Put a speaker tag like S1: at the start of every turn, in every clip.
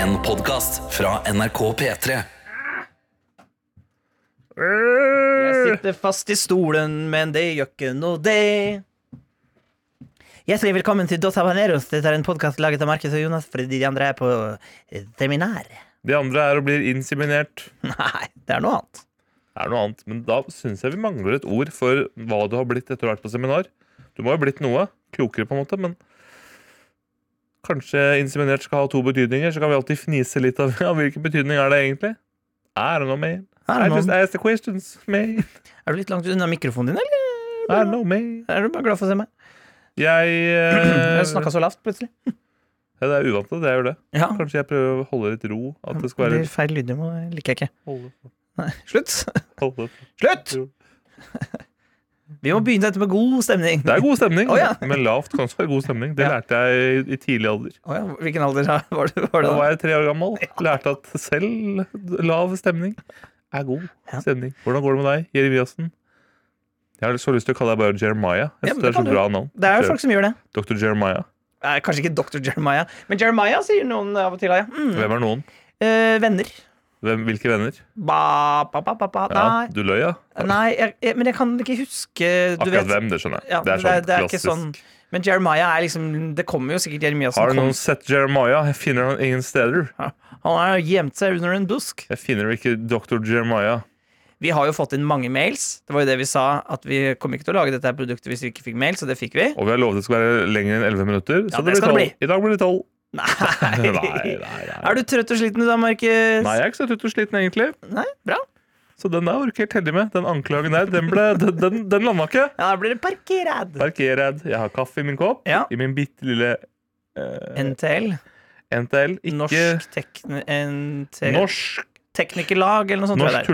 S1: En podkast fra NRK P3.
S2: Jeg sitter fast i stolen, men det gjør ikke noe, det. Hjertelig velkommen til Dos Habaneros. Dette er en podkast laget av Markus og Jonas fordi de andre er på eh, seminar.
S3: De andre er og blir inseminert.
S2: Nei, det er noe annet.
S3: Det er noe annet, men da syns jeg vi mangler et ord for hva du har blitt etter å ha vært på seminar. Du må jo ha blitt noe klokere, på en måte, men kanskje inseminert skal ha to betydninger, så kan vi alltid fnise litt av av hvilken betydning er det egentlig. I don't know, man.
S2: Er
S3: I
S2: det
S3: just
S2: noen,
S3: ask the questions, man.
S2: er du litt langt unna mikrofonen din, eller?
S3: I don't know, man.
S2: Er du bare glad for å se meg?
S3: Jeg eh,
S2: Jeg snakka så lavt, plutselig.
S3: ja, Det er uvant, det. Jeg gjør det.
S2: Ja.
S3: Kanskje jeg prøver å holde litt ro. At det
S2: Ah. Det
S3: skal være
S2: blir feil lydnivå. Det liker jeg ikke.
S3: holde,
S2: Nei, slutt.
S3: holde.
S2: Slutt!
S3: Jo.
S2: Vi må begynne dette med god stemning.
S3: Det er god stemning,
S2: Å, ja.
S3: men lavt kan også være god stemning. Det
S2: Ja.
S3: lærte jeg i- i tidlig alder.
S2: Å ja, hvilken alder var du? Var du
S3: Da
S2: da?
S3: var jeg tre år gammel. Lærte at selv lav stemning er god
S2: Ja.
S3: stemning. Hvordan går det med deg, Jeremiassen? Jeg har så lyst til å kalle deg bare Jeremiah.
S2: Ja,
S3: Jeg
S2: men
S3: synes det
S2: det
S3: er så
S2: kan du.
S3: bra navn.
S2: Det er jo folk som gjør det.
S3: Dr. Jeremiah.
S2: Nei, kanskje ikke Dr. Jeremiah, men Jeremiah sier noen av og til. Ja. Mm.
S3: Hvem er noen?
S2: Eh, venner.
S3: Hvem, hvilke venner?
S2: Ba, ba, ba, ba, ba.
S3: Ja,
S2: Nei,
S3: du løy, ja.
S2: nei jeg, jeg, men jeg kan ikke huske du
S3: Akkurat
S2: vet.
S3: hvem, det skjønner jeg.
S2: Ja,
S3: det er sånn
S2: ikke
S3: klassisk.
S2: sånn- Men Jeremiah er liksom Det kommer jo sikkert Jeremiassen.
S3: Har noen
S2: kom-
S3: sett Jeremiah? Jeg finner han ingen steder.
S2: Han har gjemt seg under en busk.
S3: Jeg finner ikke Dr. Jeremiah.
S2: Vi har jo fått inn mange mails. Det var jo det vi sa, at vi kom ikke til å lage dette her produktet hvis vi ikke fikk mail, så det fikk vi.
S3: Og vi har lovet det skal være lenger enn 11 minutter, så
S2: Ja, det
S3: det blir
S2: skal
S3: 12.
S2: det
S3: I dag blir det 12. Nei, nei,
S2: Nei.
S3: nei.
S2: Er du trøtt og sliten i dag, Markus?
S3: Nei, jeg er ikke så trøtt og sliten, egentlig.
S2: Nei? Bra.
S3: Så den der var du ikke helt heldig med. Den anklagen der, den, ble, den, den, den landa ikke.
S2: Ja, da blir det parkerad.
S3: Parkerad. Jeg har kaffe i min kopp.
S2: Ja.
S3: I min bitte lille eh,
S2: NTL.
S3: NTL. Ikke norsk,
S2: Norsk tekne... NTL.
S3: norsk,
S2: teknikerlag eller noe sånt. tror jeg det er.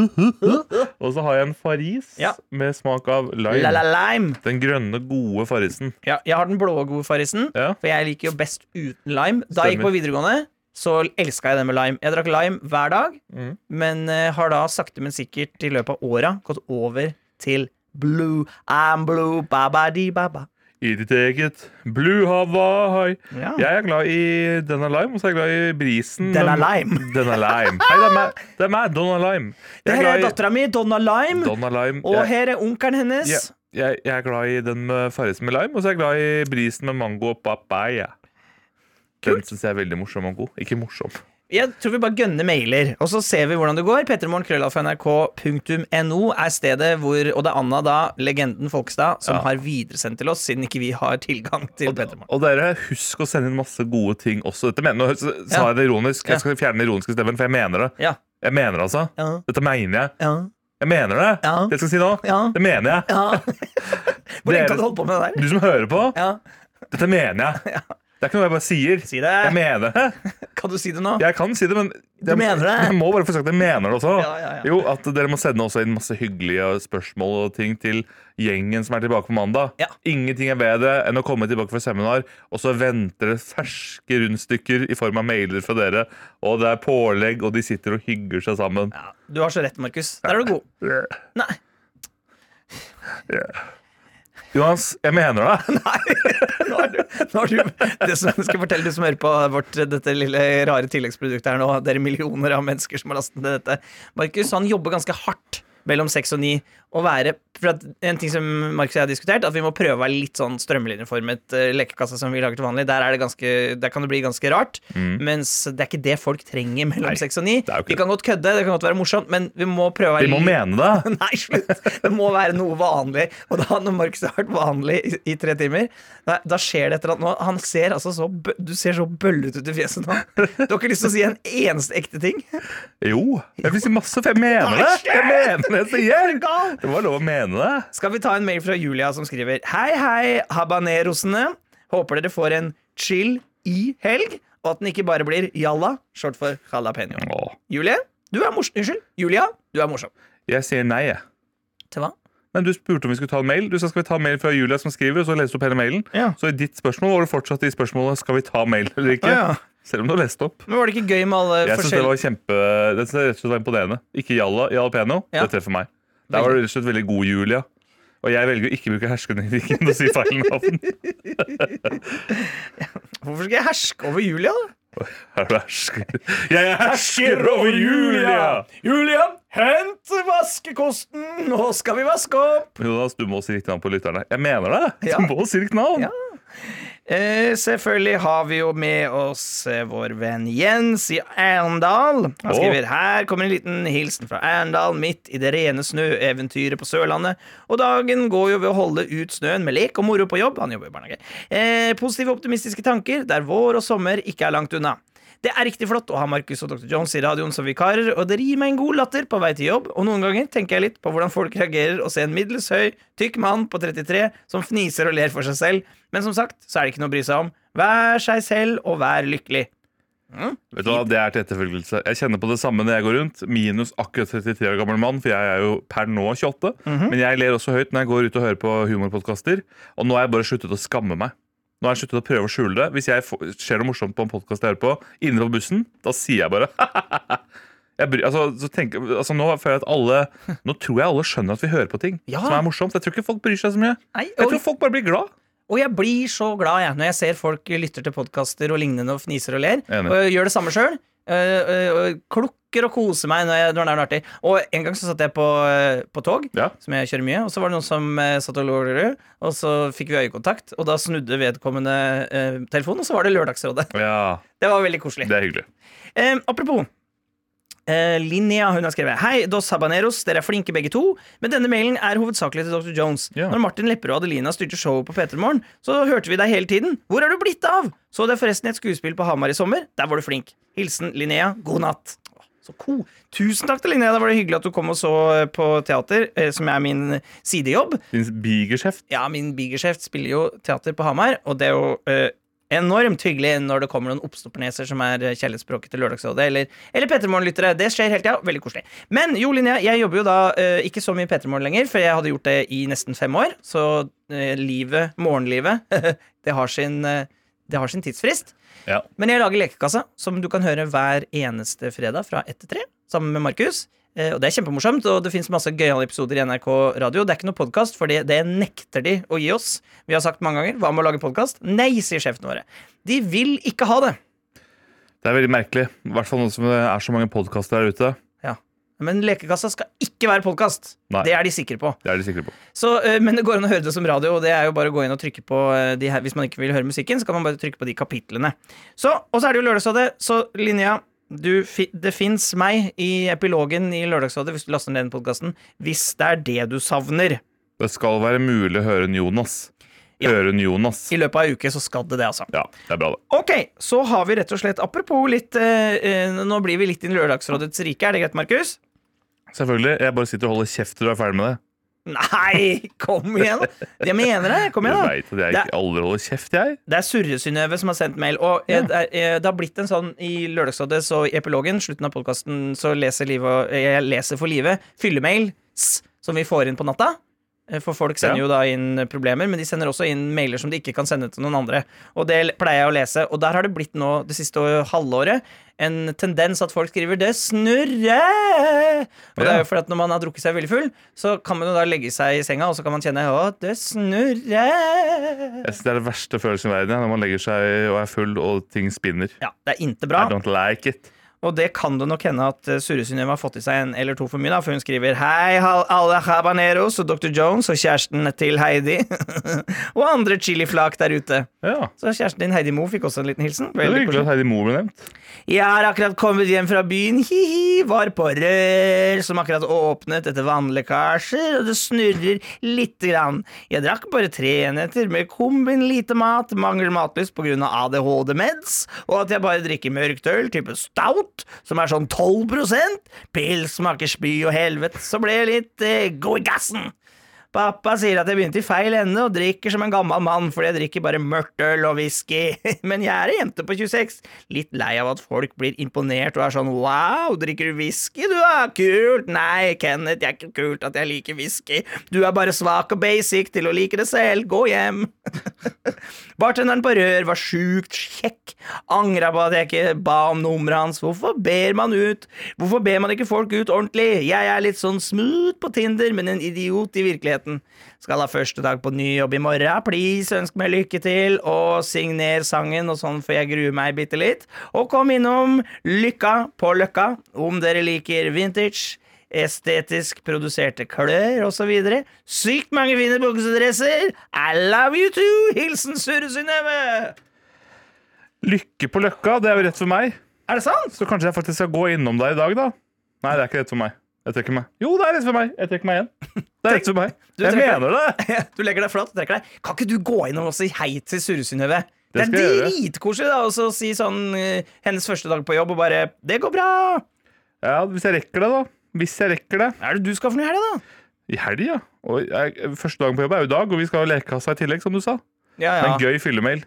S3: tullelag. Og så har jeg en Farris
S2: Ja.
S3: med smak av lime.
S2: La, la, lime.
S3: Den grønne, gode Farrisen.
S2: Ja, jeg har den blå gode farrisen,
S3: Ja.
S2: for jeg liker jo best uten lime. Da jeg gikk
S3: Stemmer.
S2: på videregående, så elska jeg det med lime. Jeg drakk lime hver dag,
S3: Mhm.
S2: men eh, har da sakte, men sikkert i løpet av åra gått over til blue. I'm blue, ba-ba-di-ba-ba.
S3: I ditt eget Blue Hawaii.
S2: Ja.
S3: Jeg er glad i Denne Lime, og så er jeg glad i brisen.
S2: Denne
S3: men-
S2: Lime.
S3: Denne Lime. Hei, det er meg, det er meg Donna Lime.
S2: Det
S3: Jeg
S2: her er
S3: glad i
S2: dattera mi, Donna Lime,
S3: Donna Lime.
S2: og
S3: Jeg-
S2: her er onkelen hennes.
S3: Ja. jeg, jeg er glad i den med farrisen med lime, og så er jeg glad i brisen med mango og papaya. Den syns jeg er veldig morsom og god. Ikke morsom.
S2: Jeg tror vi bare gønner mailer, og så ser vi hvordan det går. Petremorgenkrøllalfa.nrk.no er stedet hvor Og det er Anna, da, legenden Folkestad, som
S3: Ja.
S2: har videresendt til oss, siden ikke vi har tilgang til Petremorgen.
S3: Og dere, husk å sende inn masse gode ting også. Dette mener, nå s- sa jeg det ironisk. Jeg skal fjerne den ironiske stemmen, for jeg mener det.
S2: Ja.
S3: Jeg mener det, altså.
S2: Ja,
S3: Dette mener jeg.
S2: ja,
S3: Jeg mener det.
S2: Ja.
S3: Det jeg skal si nå,
S2: ja.
S3: det mener jeg.
S2: ja. Hvor lenge
S3: Dere-
S2: kan du holde på med det der?
S3: Du som hører på,
S2: Ja.
S3: dette mener jeg. Det er ikke noe jeg bare sier.
S2: Si
S3: Jeg
S2: det.
S3: mener det.
S2: Kan du si det nå?
S3: Jeg kan si det, men jeg,
S2: mener det?
S3: jeg må bare få sagt at jeg mener det også.
S2: Ja, ja, ja.
S3: Jo, at Dere må sende også inn masse hyggelige spørsmål og ting til gjengen som er tilbake på mandag.
S2: Ja.
S3: Ingenting er bedre enn å komme tilbake fra seminar, og så venter det ferske rundstykker i form av mailer fra dere, og det er pålegg, og de sitter og hygger seg sammen. Eh,
S2: Ja, du har så rett, Markus. Der er du god. Nei.
S3: Jonas, jeg mener det.
S2: Nå har du, nå har du det som jeg skal fortelle du som hører på vårt, dette lille rare tilleggsproduktet her nå. Dere millioner av mennesker som har lastet ned dette. Markus han jobber ganske hardt mellom seks og ni. Å være, for at en ting som Markus og jeg har diskutert, at vi må prøve å være litt sånn strømlinjeformet eh, lekekasse som vi lager til vanlig. Der, er det ganske, der kan det bli ganske rart. Mens det er ikke det folk trenger mellom
S3: Mm. Nei,
S2: seks og ni.
S3: er jo ikke
S2: Vi kan godt kødde, det kan godt være morsomt, men vi må prøve å være
S3: Vi må
S2: litt-
S3: mene det.
S2: Nei, slutt! Det må være noe vanlig. Og da når Markus har vært vanlig i, i tre timer, da, da skjer det et eller annet nå. Han ser altså så bø- Du ser så bøllete ut i fjeset nå. Du har ikke lyst til å si en eneste ekte ting.
S3: Jo, jeg vil si masse, for jeg mener det. Jeg mener det jeg sier. Det var lov å mene det.
S2: Skal vi ta en mail fra Julia som skriver Hei, hei, habanerosene. Håper dere får en chill i helg, og at den ikke bare blir jalla, short for jalapeño.
S3: Åh.
S2: Julie, du er morsom. Unnskyld. Julia, du er morsom.
S3: Jeg sier nei, jeg.
S2: Til hva?
S3: Nei, Du spurte om vi skulle ta en mail. Du sa skal vi ta en mail fra Julia som skriver, og så leste du opp hele mailen.
S2: Ja.
S3: Så i ditt spørsmål var det fortsatt i spørsmålet skal vi ta mail eller ikke.
S2: Ah, ja.
S3: Selv om du har lest opp.
S2: Men var det ikke gøy med alle
S3: Jeg synes det
S2: forskjellige
S3: var kjempe Det synes jeg rett og slett var imponerende. Ikke jalla i alpeno.
S2: Ja.
S3: Det treffer meg. Der var du rett og slett veldig god, Julia. Og jeg velger å ikke bruke hersketeknikken og si feil navn.
S2: Hvorfor skal jeg herske over Julia, da?
S3: Er du hersker? Jeg hersker over Julia!
S2: Julia, hent vaskekosten! Nå skal vi vaske opp!
S3: Jonas, du må si riktig navn på lytterne. Jeg mener det!
S2: Ja.
S3: Du må si riktig navn!
S2: Ja. Eh, selvfølgelig har vi jo med oss eh, vår venn Jens i Arendal. Han
S3: Å.
S2: skriver her kommer en liten hilsen fra Arendal midt i det rene snøeventyret på Sørlandet. Og dagen går jo ved å holde ut snøen med lek og moro på jobb. Han jobber i barnehage. Eh, positive og optimistiske tanker der vår og sommer ikke er langt unna. Det er riktig flott å ha Markus og Dr. Jones i radioen som vikarer, og det gir meg en god latter på vei til jobb, og noen ganger tenker jeg litt på hvordan folk reagerer å se en middels høy, tykk mann på 33 som fniser og ler for seg selv, men som sagt, så er det ikke noe å bry seg om. Vær seg selv, og vær lykkelig.
S3: Vet du hva, Det er til etterfølgelse. Jeg kjenner på det samme når jeg går rundt. Minus akkurat 33 år gammel mann, for jeg er jo per nå 28. Men jeg ler også høyt når jeg går ut og hører på humorpodkaster. Og nå har jeg bare sluttet å skamme meg. Nå har jeg sluttet å prøve å skjule det. Hvis jeg får- ser noe morsomt på en podkast jeg hører på, inne på bussen, da sier jeg bare jeg bry, altså, så tenker, altså, nå, føler jeg at alle, nå tror jeg alle skjønner at vi hører på ting
S2: Ja.
S3: som er morsomt. Jeg tror ikke folk bryr seg så mye.
S2: Nei,
S3: Jeg tror
S2: og,
S3: folk bare blir glad.
S2: og jeg blir så glad jeg, når jeg ser folk lytter til podkaster og lignende og fniser og ler,
S3: Enig.
S2: og gjør det samme sjøl. Klukker og koser meg når, jeg, når det er noe artig. Og en gang så satt jeg på, øh, på tog,
S3: Ja.
S2: som jeg kjører mye. Og så var det noen som eh, satt og lo, lo, lo, og så fikk vi øyekontakt. Og da snudde vedkommende eh, telefonen, og så var det Lørdagsrådet.
S3: ja,
S2: Det var veldig koselig.
S3: det er hyggelig.
S2: Eh, apropos. Eh, Linnea hun har skrevet Hei, Dos Habaneros, dere er flinke begge to, men denne mailen er hovedsakelig til Dr. Jones.
S3: Ja.
S2: Når Martin Lepperød og Adelina styrte showet på P3 Morgen, så hørte vi deg hele tiden. Hvor er du blitt av? Så deg forresten i et skuespill på Hamar i sommer. Der var du flink. Hilsen Linnea. God natt. Åh, Så ko. Tusen takk til Linnea. Da var det hyggelig at du kom og så eh, på teater, eh, som er min sidejobb
S3: Din bigerskjeft.
S2: ja, min bigeskjeft spiller jo teater på Hamar, og det er jo eh, enormt hyggelig når det kommer noen oppstopperneser som er eh, kjærlighetsspråket til Lørdagsrådet, eller, eller P3 Morgen-lyttere. Det skjer hele tida. Veldig koselig. Men jo, Linnea, jeg jobber jo da eh, ikke så mye i P3 Morgen lenger, for jeg hadde gjort det i nesten fem år, så eh, livet, morgenlivet, det har sin eh, det har sin tidsfrist.
S3: Ja.
S2: Men jeg lager Lekekassa, som du kan høre hver eneste fredag fra 1 til 3, sammen med Markus. Eh, Og det er kjempemorsomt, og det fins masse gøyale episoder i NRK Radio. Det er ikke noe podkast, for det nekter de å gi oss. Vi har sagt mange ganger 'hva med å lage podkast'? Nei, sier sjefene våre. De vil ikke ha det.
S3: Det er veldig merkelig. I hvert fall nå som det er så mange podkaster der ute.
S2: Ja. Men Lekekassa skal ikke være podkast.
S3: Nei.
S2: Det er de sikre på.
S3: Det er de sikre på.
S2: Så, eh, men det går an å høre det som radio, og det er jo bare å gå inn og trykke på eh, de her, Hvis man ikke vil høre musikken, så kan man bare trykke på de kapitlene. Så, og så er det jo Lørdagsrådet. Så Linnea, du, fi, det fins meg i epilogen i Lørdagsrådet hvis du laster ned den podkasten, hvis det er det du savner.
S3: Det skal være mulig å høre en Jonas.
S2: Ja.
S3: Høre en Jonas.
S2: I løpet av ei uke så skal det det, altså.
S3: Ja, det er bra, det.
S2: Ok, så har vi rett og slett Apropos litt eh, eh, Nå blir vi litt inn i Lørdagsrådets rike. Er det greit, Markus?
S3: Selvfølgelig. Jeg bare sitter og holder kjeft til du er ferdig med det.
S2: Nei, kom igjen! Jeg mener det. Kom igjen,
S3: Du
S2: da.
S3: vet at jeg
S2: Det er-
S3: ikke aldri holder kjeft, jeg.
S2: Det er Surre-Synnøve som har sendt mail. Og eh, det, er, eh, det har blitt en sånn i Lørdagsrådet, så i epilogen, slutten av podkasten, så leser Live og- eh, jeg leser for livet fyllemail s, som vi får inn på natta. Eh, For folk sender
S3: Ja.
S2: jo da inn eh, problemer, men de sender også inn mailer som de ikke kan sende til noen andre. Og det l- pleier jeg å lese. Og der har det blitt nå det siste å- halvåret en tendens at folk skriver 'det snurrer'. Og det er
S3: Ja.
S2: jo fordi at når man har drukket seg veldig full, så kan man jo da legge seg i senga, og så kan man kjenne 'å, det snurrer'.
S3: Jeg synes Det er den verste følelsen i verden jeg, når man legger seg og er full og ting spinner.
S2: Ja, det er inte
S3: I
S2: bra.
S3: don't like it.
S2: Og det kan det nok hende at eh, Sure Synnøve har fått i seg en eller to for mye, da, for hun skriver Hei, hal- alle habaneros og Dr. Jones og kjæresten til Heidi og andre chiliflak der ute.
S3: Ja.
S2: Så kjæresten din Heidi Mo fikk også en liten hilsen.
S3: Det er
S2: Veldig
S3: hyggelig at
S2: koselig.
S3: Heidi Moe ble nevnt.
S2: Jeg har akkurat kommet hjem fra byen, hi-hi, var på rør som akkurat åpnet etter vannlekkasjer, og det snurrer lite grann. Jeg drakk bare tre enheter med kombin lite mat, mangler matlyst pga. ADHD-meds, og at jeg bare drikker mørkt øl, type stout, som er sånn 12 pils smaker spy og helvete, så ble jeg litt eh, god i gassen. Pappa sier at jeg begynte i feil ende og drikker som en gammel mann fordi jeg drikker bare mørkt øl og whisky. Men jeg er ei jente på 26, litt lei av at folk blir imponert og er sånn wow, drikker du whisky du da, kult, nei Kenneth, det er ikke kult at jeg liker whisky, du er bare svak og basic til å like det selv, gå hjem. Bartenderen på rør var sjukt kjekk. Angra på at jeg ikke ba om nummeret hans. Hvorfor ber man ut? Hvorfor ber man ikke folk ut ordentlig? Jeg er litt sånn smooth på Tinder, men en idiot i virkeligheten. leiligheten. Skal ha første dag på ny jobb i morgen. Please, ønsk meg lykke til, og signer sangen, og sånn får jeg grue meg bitte litt. Og kom innom Lykka på Løkka om dere liker vintage. Estetisk produserte klør osv. Sykt mange fine buksedresser! I love you too! Hilsen Sure Synnøve!
S3: Lykke på Løkka, det er jo rett for meg.
S2: Er det sant?
S3: Så kanskje jeg faktisk skal gå innom der i dag, da. Nei, det er ikke rett for meg. Jeg trekker meg. Jo, det er rett for meg. Jeg trekker meg igjen. Det er rett for meg.
S2: Du
S3: Jeg
S2: trekker-
S3: mener det.
S2: Du legger deg flat og trekker deg. Kan ikke du gå innom og si hei til Sure Synnøve? Det
S3: Det
S2: er
S3: skal jeg gjøre.
S2: dritkoselig da, og så si sånn eh, hennes første dag på jobb og bare 'Det går bra'.
S3: Ja, hvis jeg rekker det, da. Hvis jeg rekker det.
S2: Hva er det du skal for noe i helga, da?
S3: I helg, ja. Og jeg, første dagen på jobb er jo i dag, og vi skal jo lekekassa i tillegg, som du sa.
S2: Ja,
S3: Det er
S2: ja.
S3: en gøy fyllemail.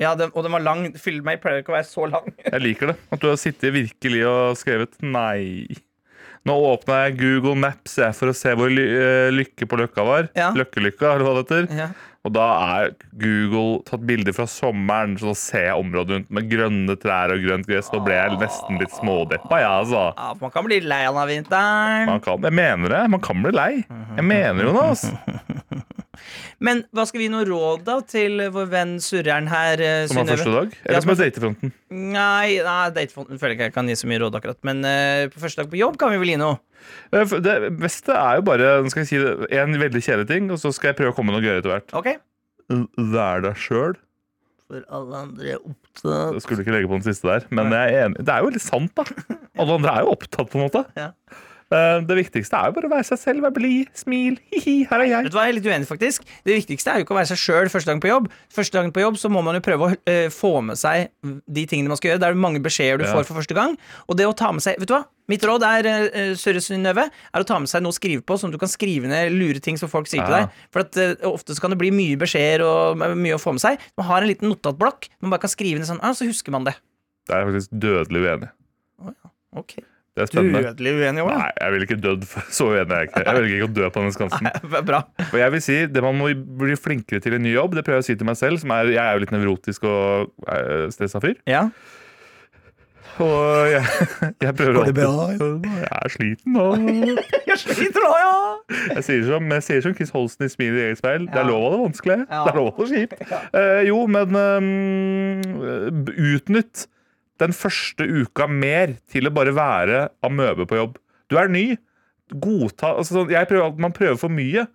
S2: ja den, og den var lang. Fyllemail pleier ikke å være så lang.
S3: Jeg liker det. At du har sittet virkelig og skrevet nei. Nå åpna jeg Google Maps jeg, for å se hvor ly eh, Lykke på Løkka var.
S2: Ja.
S3: Løkkelykka, eller hva det heter.
S2: Ja.
S3: Og da er Google tatt bilder fra sommeren, så da ser jeg området rundt med grønne trær og grønt gress. Da ble jeg nesten litt smådeppa, jeg, altså.
S2: Ja, man kan bli lei av den av vinteren.
S3: Man kan, jeg mener det. Man kan bli lei.
S2: Mhm.
S3: Jeg mener jo noe, altså.
S2: Men hva skal vi gi noe råd da til vår venn surreren her, eh,
S3: Som er første
S2: Synnøve?
S3: dag.
S2: Ja,
S3: Eller
S2: som
S3: som er datefronten.
S2: Nei, nei datefonden føler jeg ikke jeg kan gi så mye råd akkurat. Men eh, på første dag på jobb kan vi vel gi noe.
S3: Eh, for Det beste er jo bare nå skal jeg si det, en veldig kjedelig ting, og så skal jeg prøve å komme med noe gøy etter hvert.
S2: Ok?
S3: Vær deg sjøl.
S2: For alle andre er opptatt
S3: Jeg skulle ikke legge på den siste der, men jeg er enig. det er jo litt sant, da. Alle andre er jo opptatt, på en måte.
S2: Ja.
S3: Eh, Det viktigste er jo bare å være seg selv, være blid, smil, hi-hi, her er jeg.
S2: Vet du hva, jeg er litt uenig faktisk Det viktigste er jo ikke å være seg sjøl første dagen på jobb. Første dagen på jobb så må man jo prøve å eh, få med seg de tingene man skal gjøre. Det er jo mange beskjeder du
S3: Ja.
S2: får for første gang. Og det å ta med seg Vet du hva? Mitt råd er uh, Søre Synnøve, er å ta med seg noe å skrive på, sånn at du kan skrive ned lure ting som folk sier til
S3: Ja.
S2: deg. For at eh, ofte så kan det bli mye beskjeder og mye å få med seg. Man har en liten notatblokk man bare kan skrive ned sånn, ah, så husker man det.
S3: Det er faktisk dødelig uenig.
S2: Ok
S3: Det er spennende.
S2: uenig òg,
S3: Nei, jeg vil ikke dødd for så uenig er jeg ikke. Jeg velger ikke å dø på denne skansen.
S2: Bra.
S3: Og jeg vil si, Det man må bli flinkere til i en ny jobb, det prøver jeg å si til meg selv. som er, Jeg er jo litt nevrotisk og eh, stressa fyr.
S2: Ja.
S3: Og jeg, jeg prøver
S2: Går det
S3: alltid- Jeg er sliten nå.
S2: Jeg sliter nå, ja!
S3: Jeg sier som, jeg sier som Chris Holsten i Smil i eget speil. Det
S2: Ja.
S3: er lov av det vanskelige.
S2: Ja.
S3: Det er lov av det kjipt. Eh, jo, men ehm, b- utnytt den første uka mer til å bare være amøbe på jobb. Du er ny. Godta altså, sånn, jeg prøver, alt- Man prøver for mye.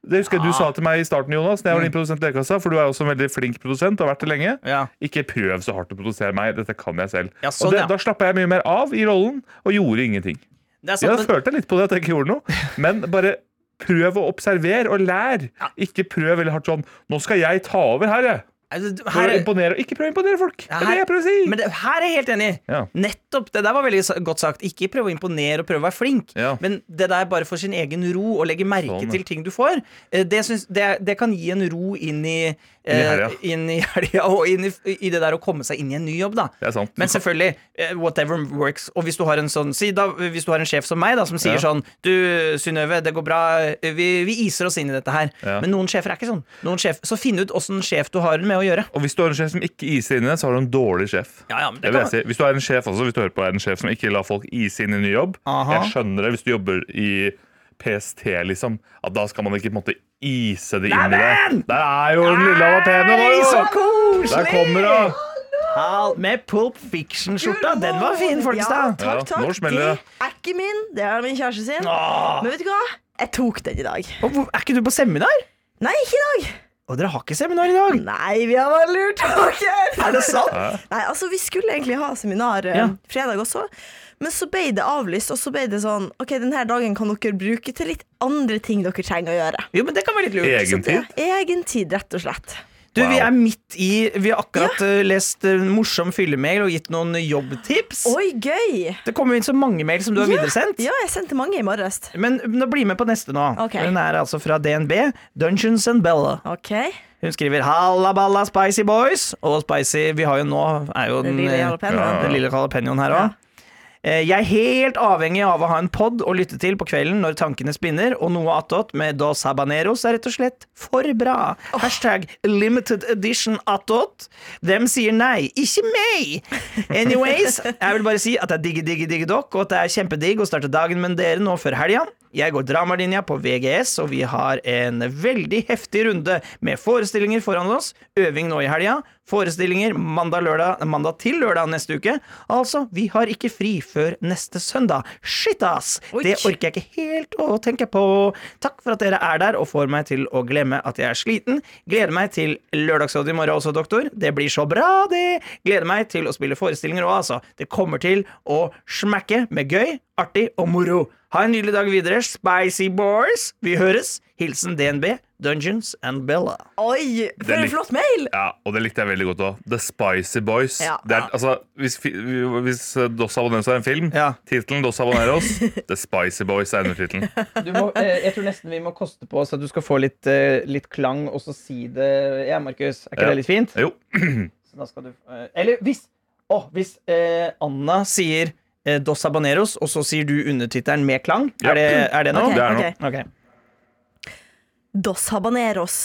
S3: Det husker jeg
S2: Ah.
S3: du sa til meg i starten, Jonas, når jeg var
S2: Mm.
S3: din produsent i Lekekassa, for du er også en veldig flink produsent. og har vært det lenge.
S2: ja.
S3: Ikke prøv så hardt å produsere meg. Dette kan jeg selv.
S2: Ja, sånn,
S3: og det,
S2: ja.
S3: Da slappa jeg mye mer av i rollen og gjorde ingenting.
S2: Det er sant,
S3: Jeg
S2: Sånn, men-
S3: følte litt på det at jeg ikke gjorde noe, men bare prøv å observere og lær. Ikke prøv veldig hardt sånn 'Nå skal jeg ta over her, jeg'.
S2: Altså,
S3: For
S2: her-
S3: å imponere. Ikke prøv å imponere folk. Det er det jeg prøver å si.
S2: Men det, her er jeg helt enig. i.
S3: Ja.
S2: Nettopp, Det der var veldig sa- godt sagt. Ikke prøve å imponere og prøve å være flink,
S3: Ja.
S2: men det der bare for sin egen ro, og legge merke
S3: Sånn, ja.
S2: til ting du får, eh, det, syns- det, det kan gi en ro inn i eh,
S3: helga.
S2: Inn i helga, og inn i, i det der å komme seg inn i en ny jobb, da.
S3: Det er sant.
S2: Men selvfølgelig, eh, whatever works. Og hvis du har en sånn si da, Hvis du har en sjef som meg, da, som sier
S3: Ja.
S2: sånn Du, Synnøve, det går bra. Vi, vi iser oss inn i dette her.
S3: Ja.
S2: Men noen sjefer er ikke sånn. Noen sjef, så finn ut åssen sjef du har med å gjøre.
S3: Og hvis du har en sjef som ikke iser inn i det, så har du en dårlig sjef.
S2: Ja, ja, men det
S3: Det vil
S2: kan-
S3: jeg si. Hvis du er en sjef også, hvis du hører på er en sjef som ikke lar folk ise inn i ny jobb
S2: Aha.
S3: Jeg skjønner det hvis du jobber i PST, liksom. At da skal man ikke på en måte ise det inn i det.
S2: Neimen!
S3: Der er jo den lille avapeene nå,
S2: Hei, så
S3: jo!
S2: koselig!
S3: Der kommer hun!
S2: Hal med Pulp Fiction-skjorta. Den var fin,
S4: Ja,
S2: Folkestad.
S3: Ja,
S4: takk, takk.
S3: nå smeller det.
S4: Det er ikke min, det er min kjæreste sin. Men vet du hva? Jeg tok den i dag.
S2: Og hvor- Er ikke du på seminar?
S4: Nei, ikke i dag.
S2: Og dere har ikke seminar i dag.
S4: Nei, vi har vært lurt. Okay.
S2: Er det sant?
S4: Nei, altså Vi skulle egentlig ha seminar eh,
S2: Ja.
S4: fredag også, men så ble det avlyst. Og så ble det sånn OK, denne dagen kan dere bruke til litt andre ting dere trenger å gjøre.
S2: Jo, men det kan være litt lurt.
S4: Så det
S3: Egentid.
S4: er Egen tid, rett og slett.
S2: Du, Vi
S3: Wow.
S2: er midt i Vi har akkurat eh, lest eh, morsom fyllemail og gitt noen jobbtips.
S4: Oi, gøy!
S2: Det kommer inn så mange mail som du har videresendt.
S4: Ja, jeg sendte mange i morges.
S2: Men nå bli med på neste nå.
S4: Ok.
S2: Hun er altså fra DNB. Dungeons and Bella.
S4: OK.
S2: Hun skriver 'Halla balla, spicy boys'. Og spicy Vi har jo nå er jo den,
S4: Den lille
S2: eh,
S4: jalapeñoen.
S2: den lille jalapeñoen her òg. Jeg er helt avhengig av å ha en pod å lytte til på kvelden når tankene spinner, og noe attåt med Dos Habaneros er rett og slett for bra. Hashtag limited edition attåt. Dem sier nei, ikke meg! Anyways, jeg vil bare si at jeg digger, digger, digger dere, og at det er kjempedigg å starte dagen med dere nå før helga. Jeg går dramalinja på VGS, og vi har en veldig heftig runde med forestillinger foran oss. Øving nå i helga. Forestillinger mandag, lørdag, mandag til lørdag neste uke. Altså, vi har ikke fri før neste søndag. Shit, ass!
S4: Oi.
S2: Det orker jeg ikke helt å tenke på. Takk for at dere er der og får meg til å glemme at jeg er sliten. Gleder meg til lørdagsrådet i morgen også, doktor. Det blir så bra, det! Gleder meg til å spille forestillinger òg, altså. Det kommer til å smekke med gøy, artig og moro. Ha en nydelig dag videre, Spicy Boys! Vi høres! Hilsen DNB, Dungeons and Bella.
S4: Oi, for
S3: er
S4: en
S3: litt-
S4: flott mail!
S3: Ja, og det likte jeg veldig godt òg. The Spicy Boys.
S4: Ja.
S3: Det er, altså, hvis, fi- hvis Dos Aboneros er en film,
S2: Ja.
S3: tittelen Dos Aboneros, The Spicy Boys er undertittelen.
S2: Du må, eh, jeg tror nesten vi må koste på oss at du skal få litt, eh, litt klang, og så si det. Ja, Markus, er ikke
S3: Ja.
S2: det litt fint?
S3: Jo.
S2: Så da skal du eh, Eller hvis Å, hvis eh, Anna sier eh, Dos Habaneros, og så sier du undertittelen med klang,
S3: Ja.
S2: er, det, er det noe?
S4: Ok,
S3: det er noe.
S4: ok.
S2: Ok.
S4: Dos habaneros.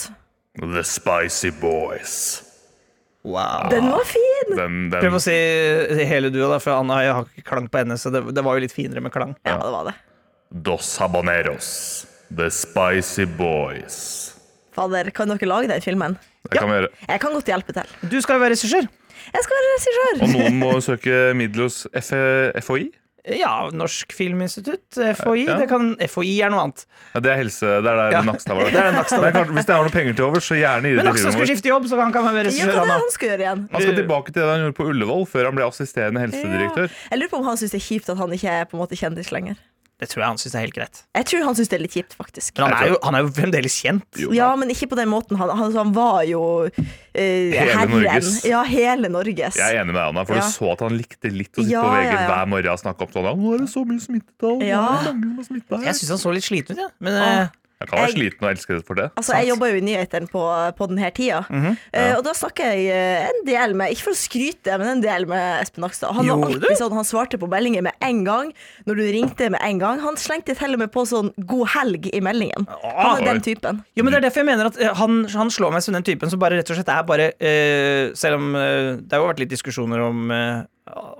S3: The Spicy Boys.
S2: Wow.
S4: Den var fin!
S3: Den, den,
S2: Prøv å si eh, hele duoet, da, for Anna jeg har ikke klang på henne, så det, det var jo litt finere med klang.
S4: Ja, det var det.
S3: Dos Habaneros. The Spicy Boys.
S4: Fader, kan dere lage den filmen?
S3: Det kan vi gjøre.
S4: Jeg kan godt hjelpe til.
S2: Du skal jo være regissør.
S4: Jeg skal være
S3: Og
S4: regissør!
S3: noen må søke midler hos F FHI.
S2: Eh, Ja, Norsk Filminstitutt, eh, FHI.
S3: Ja.
S2: Det kan, FHI er noe annet.
S3: Ja, det er helse. Det er der
S2: Ja.
S3: Nakstad var.
S2: Det er den Nakstad.
S3: Men kanskje- hvis dere har noen penger til over, så gjerne gi
S2: Men Aksel
S3: det til
S2: skal
S3: filmen vår.
S2: skifte jobb, så han kan være
S4: Ja, hva
S2: regissør,
S4: er det
S2: han òg.
S4: han skal gjøre igjen?
S3: Han skal tilbake til det han gjorde på Ullevål, før han ble assisterende helsedirektør.
S4: Ja. Jeg lurer på om han syns det er kjipt at han ikke er på en måte kjendis lenger.
S2: Det tror jeg han syns er helt greit.
S4: Jeg tror han syns det er litt kjipt, faktisk.
S2: Men han er jo, han er jo fremdeles kjent.
S4: Ja, men ikke på den måten. Han, altså, han, han var jo eh, herren.
S3: Norges.
S4: Ja, hele Norges.
S3: Jeg er enig med deg, Anna, for
S4: Ja.
S3: du så at han likte litt å sitte
S4: Ja,
S3: på VG
S4: ja, ja.
S3: hver morgen og snakke om sånn Nå er det så mye smittetall. nå
S4: Ja.
S3: er det mange som er smittet her».
S2: Jeg syns han så litt sliten ut, ja. men
S4: Åh.
S2: eh,
S3: Jeg kan være
S4: Jeg-
S3: sliten og elske det for det.
S4: Altså, Jeg jobber jo i nyhetene på, på denne tida,
S2: Mhm,
S4: Eh, og da snakker jeg eh, en del med Ikke for å skryte, men en del med Espen Nakstad. Han, var
S2: Gjorde du?
S4: alltid sånn, han svarte på meldinger med en gang, når du ringte med en gang. Han slengte til og med på sånn 'god helg' i meldingen.
S2: Ah,
S4: Han er
S3: Oi.
S4: den typen.
S2: Jo, men Det er derfor jeg mener at eh, han, han slår meg som den typen som bare rett og slett er bare eh, Selv om eh, det har jo vært litt diskusjoner om eh,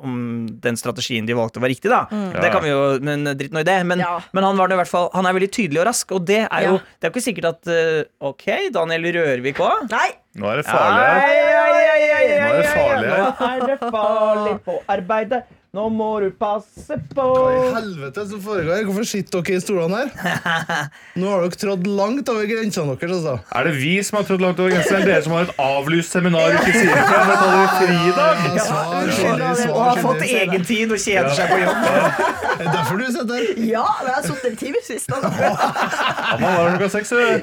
S2: om den strategien de valgte var riktig, da. Det kan vi jo, men eh, dritt nå i det. Men,
S4: Mm. Ja.
S2: men han var det i hvert fall Han er veldig tydelig og rask, og det er jo
S4: Ja.
S2: Det er jo ikke sikkert at eh, Ok, Daniel Rørvik òg?
S4: Nei!
S3: Nå er det farlig her. Nå er det farlig her.
S2: Nå er det farlig på arbeidet. Nå må du passe på.
S5: I helvete som foregår her? Hvorfor sitter dere i stolene her? Nå har dere trådd langt over grensene deres, altså.
S3: Er det vi som har trådt langt over grensen, eller dere som har et avlyst seminar uke siden? for dere tar dere fri i dag?
S5: Ja, svar,
S2: Og
S5: skyldig,
S2: har
S5: svar,
S2: fått
S5: skyldig.
S2: egen tid og kjeder seg på jobb.
S5: Er det derfor du sitter her?
S4: Ja, men jeg har sittet i timevis nå. Jeg
S3: Ja, man var her klokka seks. du.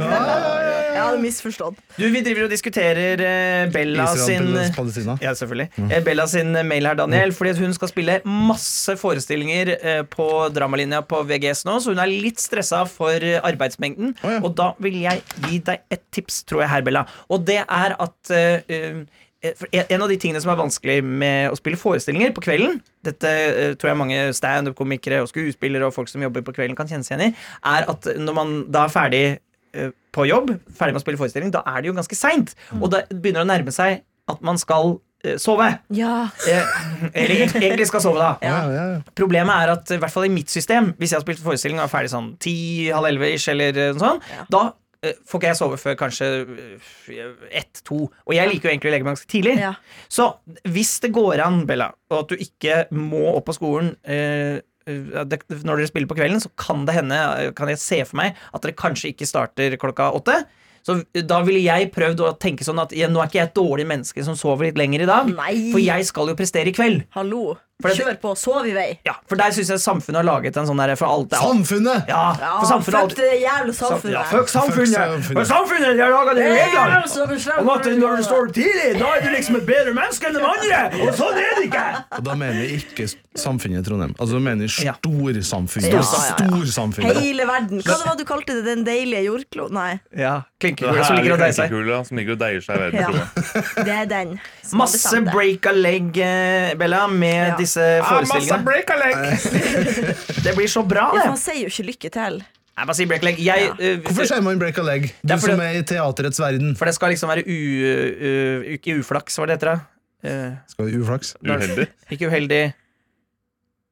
S4: hadde misforstått.
S2: Du, vi driver og diskuterer eh, Bella sin
S5: Israel, Palestina.
S2: ja, selvfølgelig. Eh, Bella sin mail her, Daniel. Fordi at hun skal spille masse forestillinger eh, på dramalinja på VGS nå, så hun er litt stressa for eh, arbeidsmengden.
S5: ja.
S2: Og da vil jeg gi deg et tips, tror jeg her, Bella. Og det er at eh, eh, for en- en av de tingene som er vanskelig med å spille forestillinger på kvelden, dette eh, tror jeg mange standup-komikere og skuespillere og folk som jobber på kvelden kan kjenne seg igjen i, er at når man da er ferdig eh, på jobb, ferdig med å spille forestilling, da er det jo ganske seint.
S5: Mm.
S2: Og da begynner det å nærme seg at man skal eh, sove.
S4: Ja.
S2: Eh, Eller egentlig- egentlig skal sove, da.
S5: Ja, ja, ja.
S2: Problemet er at i hvert fall i mitt system, hvis jeg har spilt forestilling og er ferdig sånn ti, halv elleve ish, eller eh, sånn, da eh, får ikke jeg sove før kanskje eh, ett, to. Og jeg liker jo egentlig å legge meg ganske tidlig.
S4: Ja.
S2: Så hvis det går an, Bella, og at du ikke må opp på skolen eh, eh, det, når dere spiller på kvelden, så kan det hende, eh, kan jeg se for meg, at dere kanskje ikke starter klokka åtte. Så da ville jeg prøvd å tenke sånn at ja, nå er ikke jeg et dårlig menneske som sover litt lenger i dag,
S4: Nei.
S2: for jeg skal jo prestere i kveld.
S4: Hallo.
S2: For det-
S4: Kjør på. Sov i vei.
S2: Ja, for der syns jeg samfunnet har laget en sånn derre for alt det er
S5: Samfunnet!
S2: Ja, for samfunnet har
S4: fuck
S2: alltid
S4: det jævla samfunnet.
S2: ja, Fuck samfunnet!
S5: Fuck samfunnet.
S2: For samfunnet de har laga de reglene!
S4: Ja, så bestemt.
S2: Om at når du står tidlig, da er du liksom et bedre menneske enn de andre! Og sånn er det ikke!
S5: Og da mener vi ikke samfunnet i Trondheim. Altså, da mener vi
S2: Ja.
S5: storsamfunnet.
S4: Ja, ja, ja.
S5: Storsamfunnet.
S4: Hele verden. Hva det var du kalte det? Den deilige jordkloden? Nei.
S2: Ja,
S3: Det
S2: klinkekule
S3: her
S2: som ligger
S3: er
S2: og deier seg.
S3: klinkekula som ligger og deier seg i
S4: Ja.
S3: verden.
S4: Det er den. som har
S2: Masse
S4: bestemt det.
S2: break a leg, eh, Bella, med
S4: Ja.
S2: disse forestillingene. Det blir så bra,
S4: Ja,
S2: det.
S4: for han sier jo ikke lykke til.
S2: Jeg bare sier break a leg. Jeg,
S4: Ja.
S2: eh,
S5: Hvorfor sier man break a leg? Du
S2: Det er fordi-
S5: som er i teaterets verden.
S2: for det skal liksom være u... eh, ikke uflaks, hva det heter da? Eh,
S5: Skal vi uflaks?
S3: Uheldig.
S2: Ikke uheldig.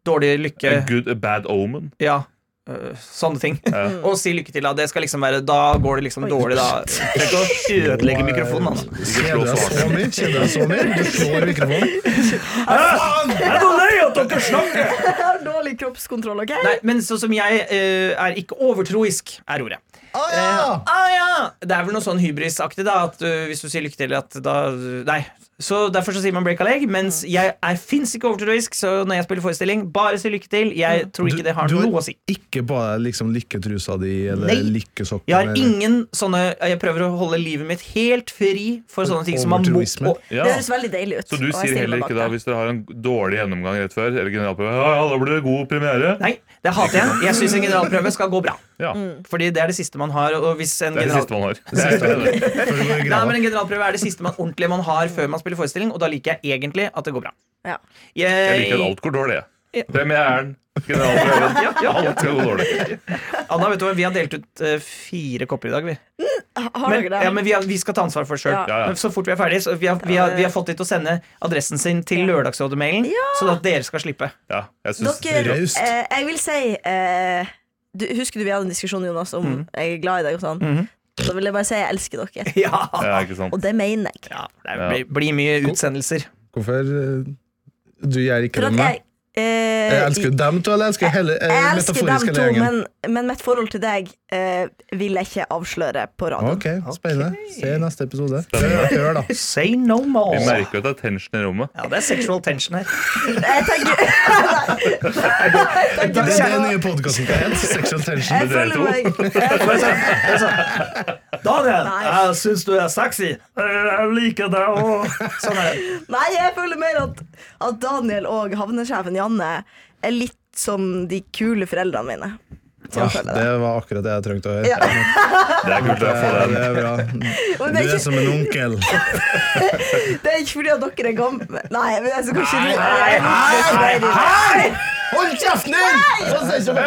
S2: Dårlig lykke.
S3: A good, a bad omen.
S2: Ja. øh, sånne ting. Og si lykke til, da. Det skal liksom være Da går det liksom dårlig, da. Trenger ikke å ødelegge mikrofonen, altså.
S5: Kjeder jeg så mye? Kjeder jeg så mye? Du slår mikrofonen.
S2: Jeg er så lei at dere snakker!
S4: Jeg har dårlig kroppskontroll, OK?
S2: Nei, men sånn som jeg eh, er ikke overtroisk, er ordet.
S5: Ah, ja!
S2: Ah, ja! Det er vel noe sånn hybrisaktig, da. At eh, hvis du sier lykke til, at da Nei. Så Derfor så sier man break a leg. Mens jeg er fins ikke overtroisk, så når jeg spiller forestilling, bare si lykke til. Jeg tror ikke det har noe å si.
S5: ikke på deg liksom lykketrusa di eller
S2: Nei.
S5: lykkesokken?
S2: Jeg har
S5: eller-
S2: ingen sånne Jeg prøver å holde livet mitt helt fri for sånne ting som man må
S5: Overtroisme.
S2: og-
S3: Ja.
S4: Det høres veldig deilig ut.
S3: Så du
S4: og jeg
S3: sier
S4: stiller meg
S3: heller
S4: bak
S3: ikke da,
S4: det.
S3: hvis dere har en dårlig gjennomgang rett før, eller generalprøve, ja, ja, da blir det god premiere.
S2: Nei, det hater jeg. Jeg syns en generalprøve skal gå bra.
S3: Ja,
S2: Fordi det er det siste man har. Og hvis en
S3: det er
S2: Mm, general...
S3: det siste man har. Det er det.
S5: Før du går i
S2: Nei,
S5: grava.
S2: men En generalprøve er det siste man ordentlige man har før man spiller forestilling, og da liker jeg egentlig at det går bra.
S4: Ja.
S3: Jeg liker at alt går dårlig. jeg. Premieren, generalprøven, alt skal gå dårlig.
S2: Anna, vet du hva, vi har delt ut eh, fire kopper i dag, vi.
S4: Ha- Har
S2: Men,
S4: dere det?
S2: ja, men vi, har, vi skal ta ansvar for det sjøl.
S4: Ja.
S3: Ja, ja.
S2: Så fort vi er ferdig så vi, har, vi, har, vi har fått de til å sende adressen sin til Lørdagsrådet-mailen, sånn at dere skal slippe.
S3: Ja, jeg synes
S4: Dere,
S5: Raust.
S4: eh, jeg vil si eh, du, Husker du vi hadde en diskusjon Jonas om jeg er glad i deg? og sånn Da vil jeg bare si jeg elsker dere.
S2: Ja,
S3: ja, ikke sant.
S4: Og det mener jeg.
S2: Det blir, blir mye utsendelser.
S5: Hvorfor eh, du gjør ikke
S4: For
S5: det
S4: at
S5: med
S4: jeg,
S5: meg?
S4: eh,
S5: Jeg elsker dem to, eller elsker jeg hele eh,
S4: jeg elsker dem
S5: metaforiske
S4: to,
S5: gjengen?
S4: men, men mitt forhold til deg eh, vil jeg ikke avsløre på radioen.
S5: Ok, spennende. Se neste episode. Hør, hør da.
S2: Say no more.
S3: Vi merker jo at det er tension i rommet.
S2: Ja, det er sexual tension her.
S4: Jeg tenker,
S5: Det er den nye podkasten til Helt. Sexual tension.
S4: jeg
S3: dere
S4: føler meg
S2: sånn, Daniel,
S4: Nei.
S2: jeg syns du er sexy. Jeg liker deg òg. Sånn er det.
S4: Nei, jeg føler mer at, at Daniel og havnesjefen Janne er litt som de kule foreldrene mine.
S5: Ja, Ah, det var akkurat det jeg trengte å høre.
S4: Ja.
S3: Det er kult å få
S5: Ja,
S3: den.
S5: det er bra.
S4: Men
S5: Du
S4: det, er
S5: er
S4: ikke,
S5: som en onkel.
S4: det er ikke fordi at dere er gamle Nei, men jeg skal ikke
S5: Nei,
S4: nei, nei, nei, nei.
S5: Hold kjeften din! Sånn sier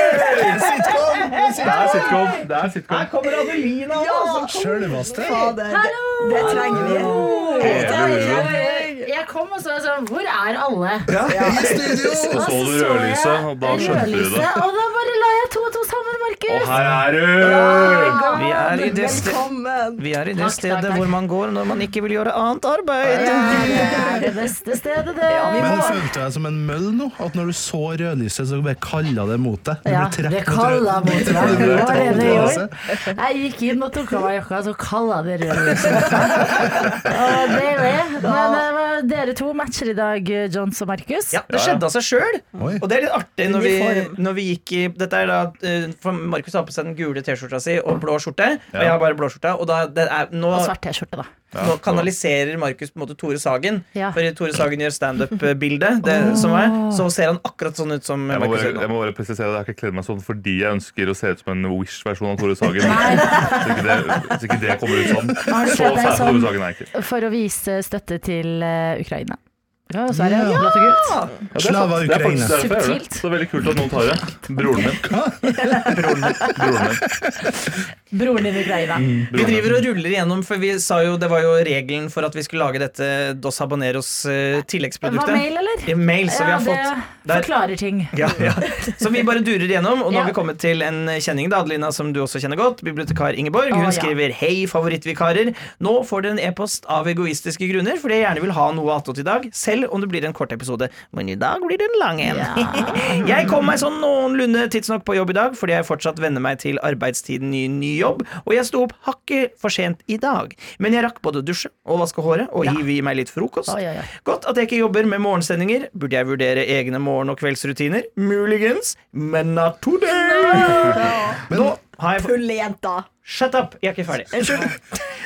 S5: ikke Sitcom!
S3: Det er sitcom. Det er sitcom.
S2: Kommer Adelina
S4: Ja, altså,
S5: Sjølveste.
S4: fader. Det, det trenger vi. Det trenger vi.
S6: Jeg kom og så var jeg sånn Hvor er alle?
S5: I studio!
S3: Så så du
S6: jeg
S3: rødlyset, og da skjønte du det.
S6: rødlyset, Og da bare la jeg to og to sammen,
S3: Og
S6: Markus.
S3: her er du!
S2: Vi er i det, ste
S4: Velkommen.
S2: vi er i det
S6: Takk,
S2: stedet
S6: takk, takk.
S2: hvor man går når man ikke vil gjøre annet arbeid.
S6: Det er det beste stedet, det.
S5: Men følte jeg som en møll nå? At når du så rødlyset, så bare kalla det mot deg? Du
S6: Ja,
S5: ble
S6: det
S5: trukket mot
S6: kalla
S5: rød-
S6: mot
S5: Du
S6: hverandre.
S5: ble
S6: Det var det
S5: trukket mot
S6: det gjorde.
S5: rødlyset.
S6: Jeg gikk inn og tok av meg jakka, så kalla det rødlyset. Og det ble. Men det var dere to matcher i dag, eh, Johns og Markus.
S2: Ja, det skjedde av seg sjøl.
S5: Oi.
S2: Og det er litt artig når vi,
S4: Uniform.
S2: når vi gikk i Dette er da eh, For Markus har på seg den gule T-skjorta si og blå skjorte. Og jeg har bare blå skjorta. Og da, det er, nå,
S6: Og svart T-skjorte, da.
S2: nå kanaliserer Markus på en måte Tore Sagen.
S6: Ja.
S2: For Tore Sagen gjør standup-bildet, det som er. Så ser han akkurat sånn ut som
S3: Jeg må,
S2: Markus
S3: bare, jeg
S2: Ødegaard.
S3: må bare presisere at jeg har ikke kledd meg sånn fordi jeg ønsker å se ut som en Wish-versjon av Tore Sagen. Så ikke, det, så ikke det kommer ut sånn.
S6: Har du
S3: Så sær på
S6: kledd deg sånn?
S3: Tore Sagen er jeg ikke.
S6: For å vise støtte til eh, Ukraina. Ja, og Sverige. Blått og gult.
S3: Ja, det er
S5: Slava
S3: sant. Det er faktisk
S5: Ukraina.
S3: derfor jeg gjør det.
S6: Subtilt.
S3: Så det er veldig kult at noen tar det. Broren min. Broren min. Broren min.
S6: Broren din i Ukraina.
S2: Vi driver og ruller igjennom, for vi sa jo det var jo regelen for at vi skulle lage dette Dos Habaneros eh,
S6: Det var
S2: tilleggsproduktet.
S6: mail, eller?
S2: I mail som vi har fått.
S6: det
S2: Der-
S6: forklarer ting.
S2: Ja, ja. Så vi bare durer igjennom, og nå har
S6: Ja.
S2: vi kommet til en kjenning, da, Adelina, som du også kjenner godt. Bibliotekar Ingeborg.
S6: Å,
S2: Hun
S6: ja.
S2: skriver 'Hei, favorittvikarer'. Nå får dere en e-post av egoistiske grunner, fordi jeg gjerne vil ha noe attåt i dag, selv om det blir en kort episode. Men i dag blir det en lang en. jeg kom meg sånn noenlunde tidsnok på jobb i dag, fordi jeg fortsatt venner meg til arbeidstiden i ny jobb, og jeg sto opp hakket for sent i dag. Men jeg rakk både å dusje og vaske håret, og hive i meg litt frokost.
S6: Oi, oi, oi.
S2: Godt at jeg ikke jobber med morgensendinger. Burde jeg vurdere egne morgen- og kveldsrutiner? Muligens, men not today! Nå har jeg
S4: Fulle jenter.
S2: Shut up! Jeg er ikke ferdig.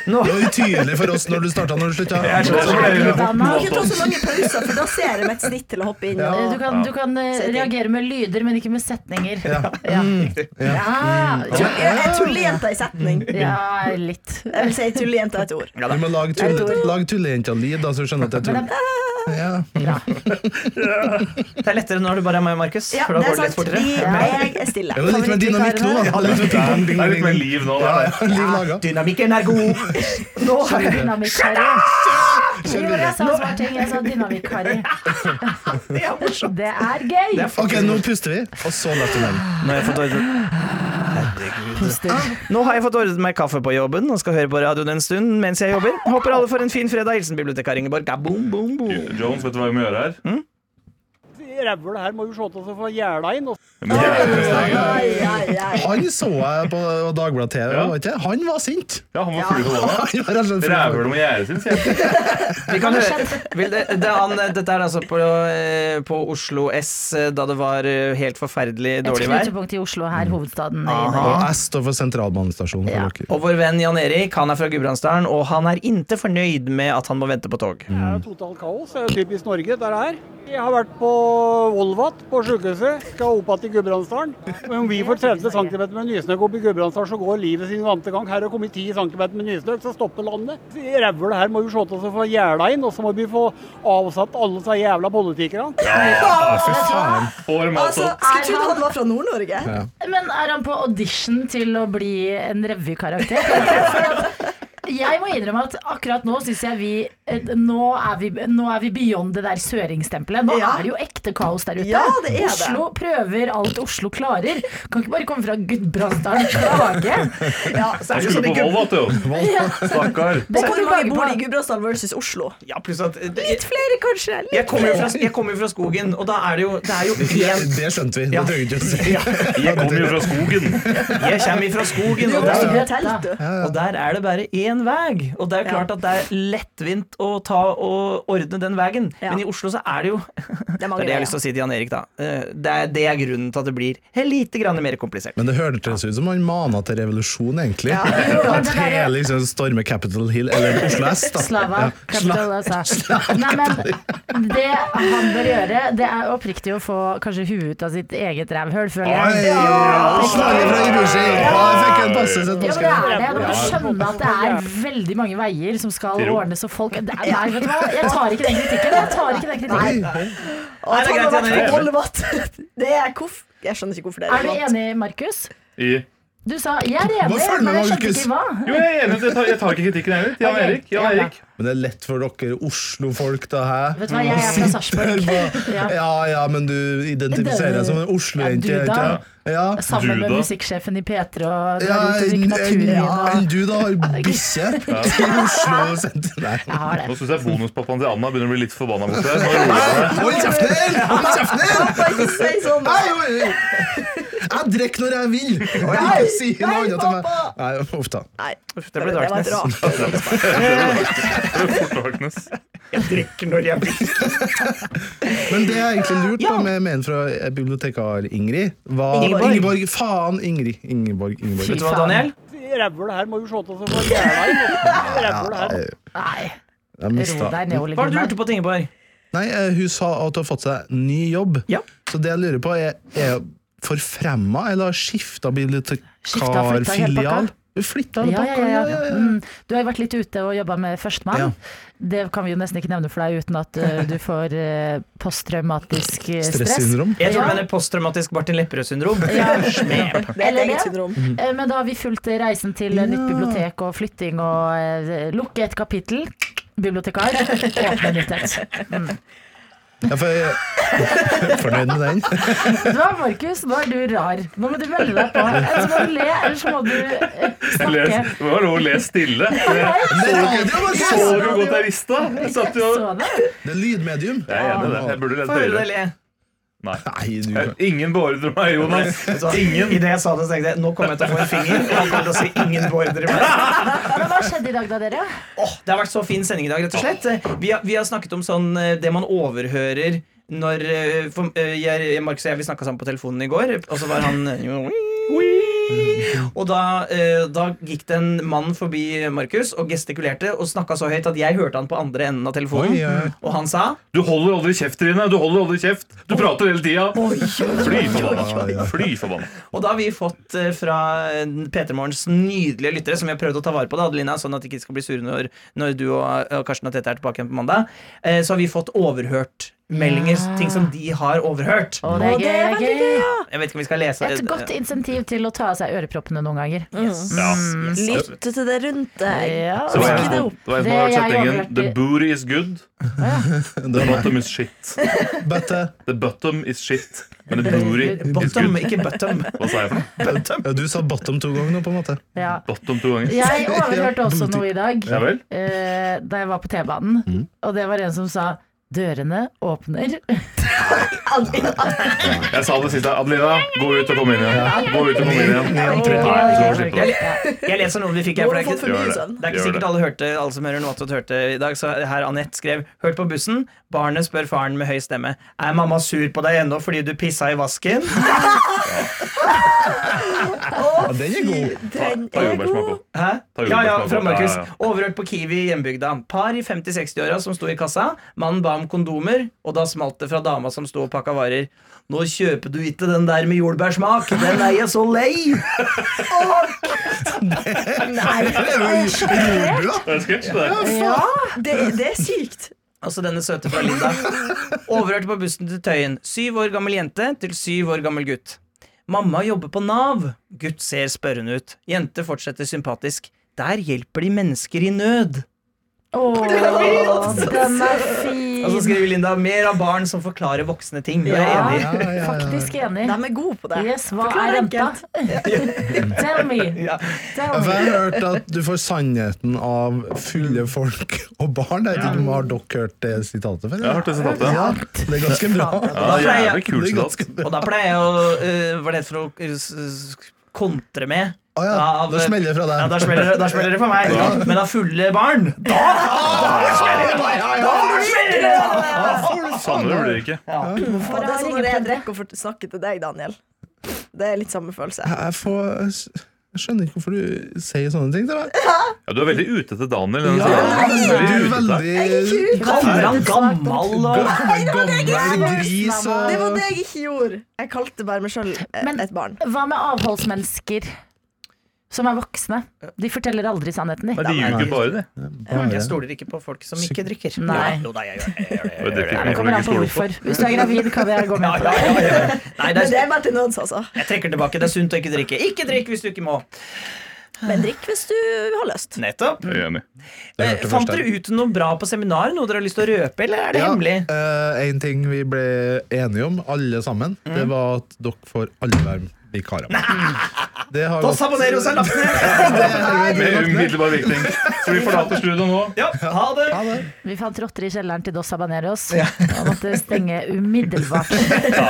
S2: Nå
S5: Det var utydelig for oss når du starta, når du slutta.
S2: Jeg skjønner.
S4: Du må ikke ta så mange pauser, for da ser jeg med et snitt til å hoppe inn.
S6: Eh, Du
S4: Og,
S6: kan, du kan eh, reagere med lyder, men ikke med setninger. Ja, ja.
S2: Mm.
S4: Tull-
S6: ja.
S4: jeg er tullejenta i setning.
S6: ja litt.
S4: Jeg vil si tullejenta er et ord.
S5: Du må lage tulle- lag tullejenta-lyd, da, så du skjønner at det er tull. Ja.
S2: Det er lettere når det bare er meg og Markus.
S4: Ja,
S2: for da
S4: det er
S2: går det litt
S4: sant.
S2: fortere.
S4: Vi, jeg er stille.
S5: Det liksom var litt mer dynamikk nå, da. Det er Litt mer
S3: Det er litt mer liv nå.
S5: Ja,
S3: Det er.
S5: ja, liv laga.
S2: Dynamikken er god! Nå har jeg
S6: Dynamikkherre. Jo,
S5: Kjør
S6: jeg
S5: videre.
S6: sa smart ting. Jeg sa dynamitkarer.
S2: Det er morsomt.
S6: Det er gøy!
S2: Det er
S5: Ok,
S2: faktisk-
S5: nå puster vi, og så løfter vi den.
S2: Nå har jeg fått ordnet Nå har jeg fått ordnet meg kaffe på jobben og skal høre på radioen en stund mens jeg jobber. Håper alle får en fin fredag. Hilsen bibliotekar Ingeborg. Boom, boom, boom.
S3: Jones, vet du hva vi må gjøre her?
S7: Rævla her må jo se til å få jæla inn. og-
S3: Vi må gjøre-
S4: Ai, ai, ai.
S5: Han så jeg på Dagbladet TV,
S3: Ja.
S5: var ikke? Han var sint.
S3: Ja, han var full i
S5: Han
S3: hodet.
S5: var rett og slett
S3: Rævhølet må gjære sin, sier jeg.
S2: Vi kan høre Vil det, det er han, Dette er altså på, eh, på Oslo S eh, da det var eh, helt forferdelig
S6: Et
S2: dårlig vær. Mm.
S6: knutepunkt i Oslo her, hovedstaden i
S2: Aha.
S6: Norge.
S5: Og S står for sentralbanestasjonen.
S6: Ja.
S5: for dere.
S2: Og vår venn Jan Erik han er fra Gudbrandsdalen, og han er ikke fornøyd med at han må vente på tog.
S7: Det er jo totalt kaos. Det er jo typisk Norge, dette her. Jeg har vært på Volvat, på sykehuset. Skal opp igjen til Gudbrandsdalen. Men om vi får 30 cm med nysnøkk opp i Gudbrandsdalen, så går livet sin vante gang. Her har kommet 10 cm med nysnøkk, så stopper landet. Rævla her må vi se til å få jæla inn, og så må vi få avsatt alle disse jævla politikerne.
S5: Ja, fy faen.
S3: Får dem
S4: Altså,
S3: altså.
S4: skulle trodd han var fra Nord-Norge.
S6: Men er han på audition til å bli en revykarakter? For at Jeg må innrømme at akkurat nå syns jeg vi eh, nå er vi, nå er vi beyond det der søringstempelet. Nå
S4: Ja.
S6: er det jo ekte kaos der ute.
S4: Ja, det er det.
S6: Oslo prøver alt Oslo klarer. Kan ikke bare komme fra Gudbrandsdalen og klage.
S3: Han skulle
S4: sånn
S3: på Volvat, jo. Stakkar.
S4: Og
S6: Så-
S4: hvor mange bor det i Gudbrandsdalen versus Oslo?
S2: Ja, pluss at eh, det-
S4: Litt flere, kanskje? Litt.
S2: Jeg kommer jo fra, jeg kommer jo fra skogen, og da er det jo, det er jo
S5: Det,
S2: én
S5: det skjønte vi. Det
S2: Ja.
S5: trenger vi ikke å si.
S3: Jeg kommer jo fra skogen.
S2: Jeg kommer fra skogen, og
S4: Det er
S2: der,
S4: jo telt, du.
S2: og der er det bare én vei. Og det er klart at det er lettvint å ta og ordne den veien,
S4: Ja.
S2: men i Oslo så er det jo
S4: Det er
S2: Det
S4: mange
S2: er det jeg har
S4: veier.
S2: lyst til å si til Jan Erik, da. Eh, Det er, det er grunnen til at det blir lite grann mer komplisert.
S5: Men det hørtes ut som han mana til revolusjon, egentlig. At hele liksom stormer Capitol Hill, eller Oslo S, da.
S6: Slava. Capital, altså. Nei, men det han bør gjøre, det er oppriktig å få kanskje huet ut av sitt eget rævhøl, føler
S5: Oi,
S6: jeg.
S5: Slaget fra Hiroshi! Ja, jeg fikk en passe sett på
S6: Ja, men det
S5: skjermen.
S6: er det. Man må skjønne at det er veldig mange veier som skal
S3: Til ro.
S6: ordnes, og folk det er, Nei, vet du hva, jeg tar ikke den kritikken. Jeg tar ikke den kritikken.
S4: Og at
S2: det er
S4: han har
S2: greit,
S4: vært
S2: Jan Erik.
S4: på Volvat, det er koff. Jeg skjønner ikke hvorfor det er
S6: Er du
S4: relevant.
S6: enig, Markus?
S3: I
S6: Du sa 'jeg er enig',
S5: Hva føler du,
S6: men jeg skjønte
S5: Markus?
S6: ikke hva.
S3: Jo, jeg er enig. Jeg tar, jeg tar ikke kritikken heller. Jan Erik. Jan Erik.
S5: Men det er lett for dere Oslo-folk, da, hæ?
S6: Vet du hva, jeg er fra Sarpsborg. Ja.
S5: Ja ja, men du identifiserer deg som en Oslo-jente,
S6: Ja, du
S5: ikke
S6: da. Altså,
S5: sant? Ja.
S6: Sammen med
S3: Du da?
S6: musikksjefen i P3 og
S5: Ja,
S6: drar ut og drikker
S5: en, en,
S6: naturvin og
S5: en du da har bikkje til Oslo sentrum. Nei.
S6: Jeg har det.
S3: Nå syns jeg bonuspappaen til Anna begynner å bli litt forbanna borti her. Nå roer jeg meg.
S5: Hold kjeften din! Hold kjeften din!
S4: Bare ikke si sånn.
S5: Nei, oi, oi. Jeg drikker når jeg vil! Og ikke si noe annet til meg. Nei, uff da.
S4: Nei,
S2: det ble
S4: var
S2: darkness.
S4: et rart.
S3: Det er fort Darkness.
S2: Jeg drikker når jeg blir
S5: Men det jeg egentlig lurte på med med en fra bibliotekar Ingrid, var
S2: Ingeborg.
S5: Ingeborg. Faen, Ingrid. Ingeborg. Ingeborg.
S2: Vet du hva, Daniel?
S7: Rævla her må jo se til å få jæla inn. Rævla her.
S6: Nei,
S5: Jeg
S6: ro
S5: mista.
S6: deg ned, Ole
S2: Hva er det du
S6: Gunnar.
S2: lurte på, Tingeborg?
S5: Nei, eh, hun sa at hun har fått seg ny jobb.
S2: Ja.
S5: Så det jeg lurer på, er, er hun forfremma eller har skifta
S6: Skiftet, flyttet hele pakka?
S5: bibliotekarfilial? Hun flytta hele
S6: Ja, ja,
S5: pakka,
S6: ja.
S5: ja, ja, ja.
S6: Mm, du har jo vært litt ute og jobba med Førstemann.
S5: Ja.
S6: Det kan vi jo nesten ikke nevne for deg uten at eh, du får eh, posttraumatisk eh, stress.
S5: Stressyndrom.
S2: Jeg tror
S6: Ja.
S2: du mener posttraumatisk Martin Lepperød-syndrom.
S6: Ja.
S2: Smep.
S4: Det er
S6: Eller
S4: et eget
S6: det?
S4: syndrom.
S6: Eh, Men da har vi fulgt eh, reisen til eh, nytt bibliotek og flytting og eh, lukke et kapittel. Bibliotekar, åpne nytt et.
S5: Ja, for jeg er fornøyd med den.
S6: Vet du hva, Markus, nå er du rar. Nå må du melde deg på. Ellers må du le, eller så må du eh,
S3: Jeg les,
S6: snakke.
S3: det var lov å le stille. Jeg
S5: Det er radio, Markus!
S3: så jo godt jeg visste. Jeg satt jo
S6: Så det?
S5: Det er lydmedium.
S3: Jeg er enig i det. Jeg burde lest
S2: Få høre
S3: høyere.
S2: deg le.
S5: Nei, du
S3: Jeg- Ingen beordrer meg, Jonas. Ingen.
S2: Idet jeg sa det, så tenkte jeg nå kommer jeg til å få en finger. Og han kommer til å si ingen beordrer meg.
S6: Men hva skjedde i dag da, dere?
S2: Åh, det har vært så fin sending i dag, rett og slett. Eh, Vi har, vi har snakket om sånn eh, det man overhører når eh, for, eh, jeg, Markus og jeg vi snakka sammen på telefonen i går, og så var han eh, jo, oi. Og da, eh, da gikk det en mann forbi Markus og gestikulerte og snakka så høyt at jeg hørte han på andre enden av telefonen.
S5: Oi, ja.
S2: Og han sa
S3: Du holder aldri kjeft, Trine. Du holder aldri kjeft. Du prater hele tida. Fly
S5: oi, oi.
S3: forbanna. Fly forbanna.
S2: Og da har vi fått eh, fra P3 Morgens nydelige lyttere, som vi har prøvd å ta vare på, da, Adelina, sånn at de ikke skal bli sure når, når du og, og Karsten og Tete er tilbake igjen på mandag, eh, så har vi fått overhørt meldinger,
S6: Ja.
S2: ting som de har overhørt.
S6: Å, det
S4: Å,
S6: er gøy.
S4: det er
S6: det
S4: veldig
S6: er gøy.
S4: gøy, ja.
S2: Jeg vet ikke om vi skal lese
S6: Et godt insentiv til å ta av seg øreproppene noen ganger.
S3: Ja.
S4: Lytte til det rundt deg.
S6: Ja.
S3: Så sånn. det var en som-
S4: Ikke det.
S3: det var en som
S6: Det
S3: har hørt
S6: jeg
S3: setningen
S6: overhørte.
S3: The booty is good, the
S5: Det var
S3: bottom is shit.
S5: Bette.
S3: The bottom is shit, men the booty is
S2: Bottom,
S3: good.
S2: ikke bottom.
S3: Hva sa jeg for noe?
S5: Ja, du sa bottom to ganger nå, på en måte.
S6: Ja.
S3: Bottom to ganger.
S6: Jeg overhørte også noe i dag
S3: Ja vel? Mm.
S6: eh, da jeg var på T-banen, og det var en som sa 'dørene åpner'.
S3: Jeg sa det siste. Adelina, gå ut og kom inn igjen. Gå ut og kom inn igjen. Nei,
S6: Åh,
S3: du skal slippe det.
S2: Jeg leser noen vi fikk her.
S4: Nå
S2: For
S4: har
S2: det er
S4: du fått
S2: ikke,
S4: for
S3: Gjør
S4: mye
S3: det.
S4: søvn.
S2: sånn. det er ikke
S3: Gjør
S2: sikkert
S3: det.
S2: alle hørte Alle som hører Noatot hørte i dag. Så her Anette skrev Hørt på bussen. Barnet spør faren med høy stemme Er mamma sur på deg ennå fordi du pissa i vasken.
S5: Ja, den er god.
S4: Den
S3: Ta
S4: er
S3: jordbærsmak
S4: god.
S3: også.
S2: Hæ?
S3: Ta
S2: Ja, ja, fra
S3: jordbærsmak også.
S2: Markus.
S3: Ja, ja,
S2: Overhørt på Kiwi i hjembygda. Par i 50-60-åra som sto i kassa. Mannen ba om kondomer, og da smalt det fra dama som sto og pakka varer. Nå kjøper du ikke den der med jordbærsmak, den er jeg så lei!
S3: Det er en sketsj, det der.
S4: Ja, det, det er sykt.
S2: Altså denne søte fra Linda. Overhørte på bussen til Tøyen. Syv år gammel jente til syv år gammel gutt. Mamma jobber på Nav. Gutt ser spørrende ut. Jente fortsetter sympatisk. Der hjelper de mennesker i nød.
S6: Åh, den er
S2: Og så
S6: fin!
S2: skriver Linda mer av barn som forklarer voksne ting. Jeg er enig.
S5: Ja, ja, ja, ja.
S6: Faktisk enig.
S4: De er gode på det.
S6: Yes, hva
S4: Forklar
S6: er renta? Tell me!
S2: Ja.
S6: Tell
S5: For
S6: me.
S5: Jeg har hørt at du får sannheten av fulle folk og barn. Jeg vet ikke om har dere hørt det sitatet før?
S3: Jeg har hørt det sitatet.
S5: Ja, det er ganske bra.
S3: Ja, det er jævlig kult
S5: Det er
S3: sitat.
S5: ganske bra.
S2: Og da pleier jeg å øh, Hva er det for å øh, s- s- kontre med?
S5: Å ja,
S2: Av,
S5: da smeller det fra deg.
S2: Ja, da smeller, det- da smeller det for meg. Men av fulle barn Da
S3: Sannere blir det ikke.
S4: Og det er sånn når jeg drikker og fort- snakker til deg, Daniel. Det er litt samme følelse.
S5: Jeg, jeg får, jeg skjønner ikke hvorfor du sier sånne ting til meg.
S3: Ja, du er veldig ute etter Daniel. denne
S5: Ja,
S3: siden.
S5: du er
S3: Veldig ute.
S5: veldig
S2: kaller han gammel og
S5: gammel gris
S4: Det var
S5: og
S4: det jeg ikke gjorde. Jeg kalte bare meg sjøl
S6: Men-
S4: et barn.
S6: Hva med avholdsmennesker som er voksne? De forteller aldri sannheten, de.
S3: Nei, de ljuger bare, de.
S2: Jeg stoler ikke på folk som ikke drikker.
S6: Nei.
S2: Jo da, jeg gjør det, jeg gjør det.
S3: Det er det
S6: Det
S3: folk
S6: kommer
S3: ikke
S6: an på
S3: stoler på.
S6: hvorfor. Hvis du er gravid, kan jeg gå med på det.
S2: Nei, det
S4: Men det
S2: er,
S4: er bare til nøds, altså.
S2: jeg trekker tilbake. Det er sunt å ikke drikke. Ikke drikk hvis du ikke må.
S4: Men drikk hvis du har lyst.
S2: Nettopp.
S3: Jeg er enig.
S5: Det
S2: Eh,
S5: hørte
S2: Fant
S5: først
S2: dere
S5: her.
S2: ut noe bra på seminar? Noe dere har lyst til å røpe, eller er det hemmelig?
S5: eh, en ting vi ble enige om, alle sammen, det var at dere får alle være vikarer. Det har
S2: Dos
S5: gått-
S2: Habaneros er lagt ned!
S5: Det er-
S3: Med umiddelbar virkning. Så vi forlater studio nå.
S2: Ja, ha det!
S5: Ja, det.
S6: Vi fant rotter i kjelleren til Dos Habaneros. Og måtte stenge umiddelbart.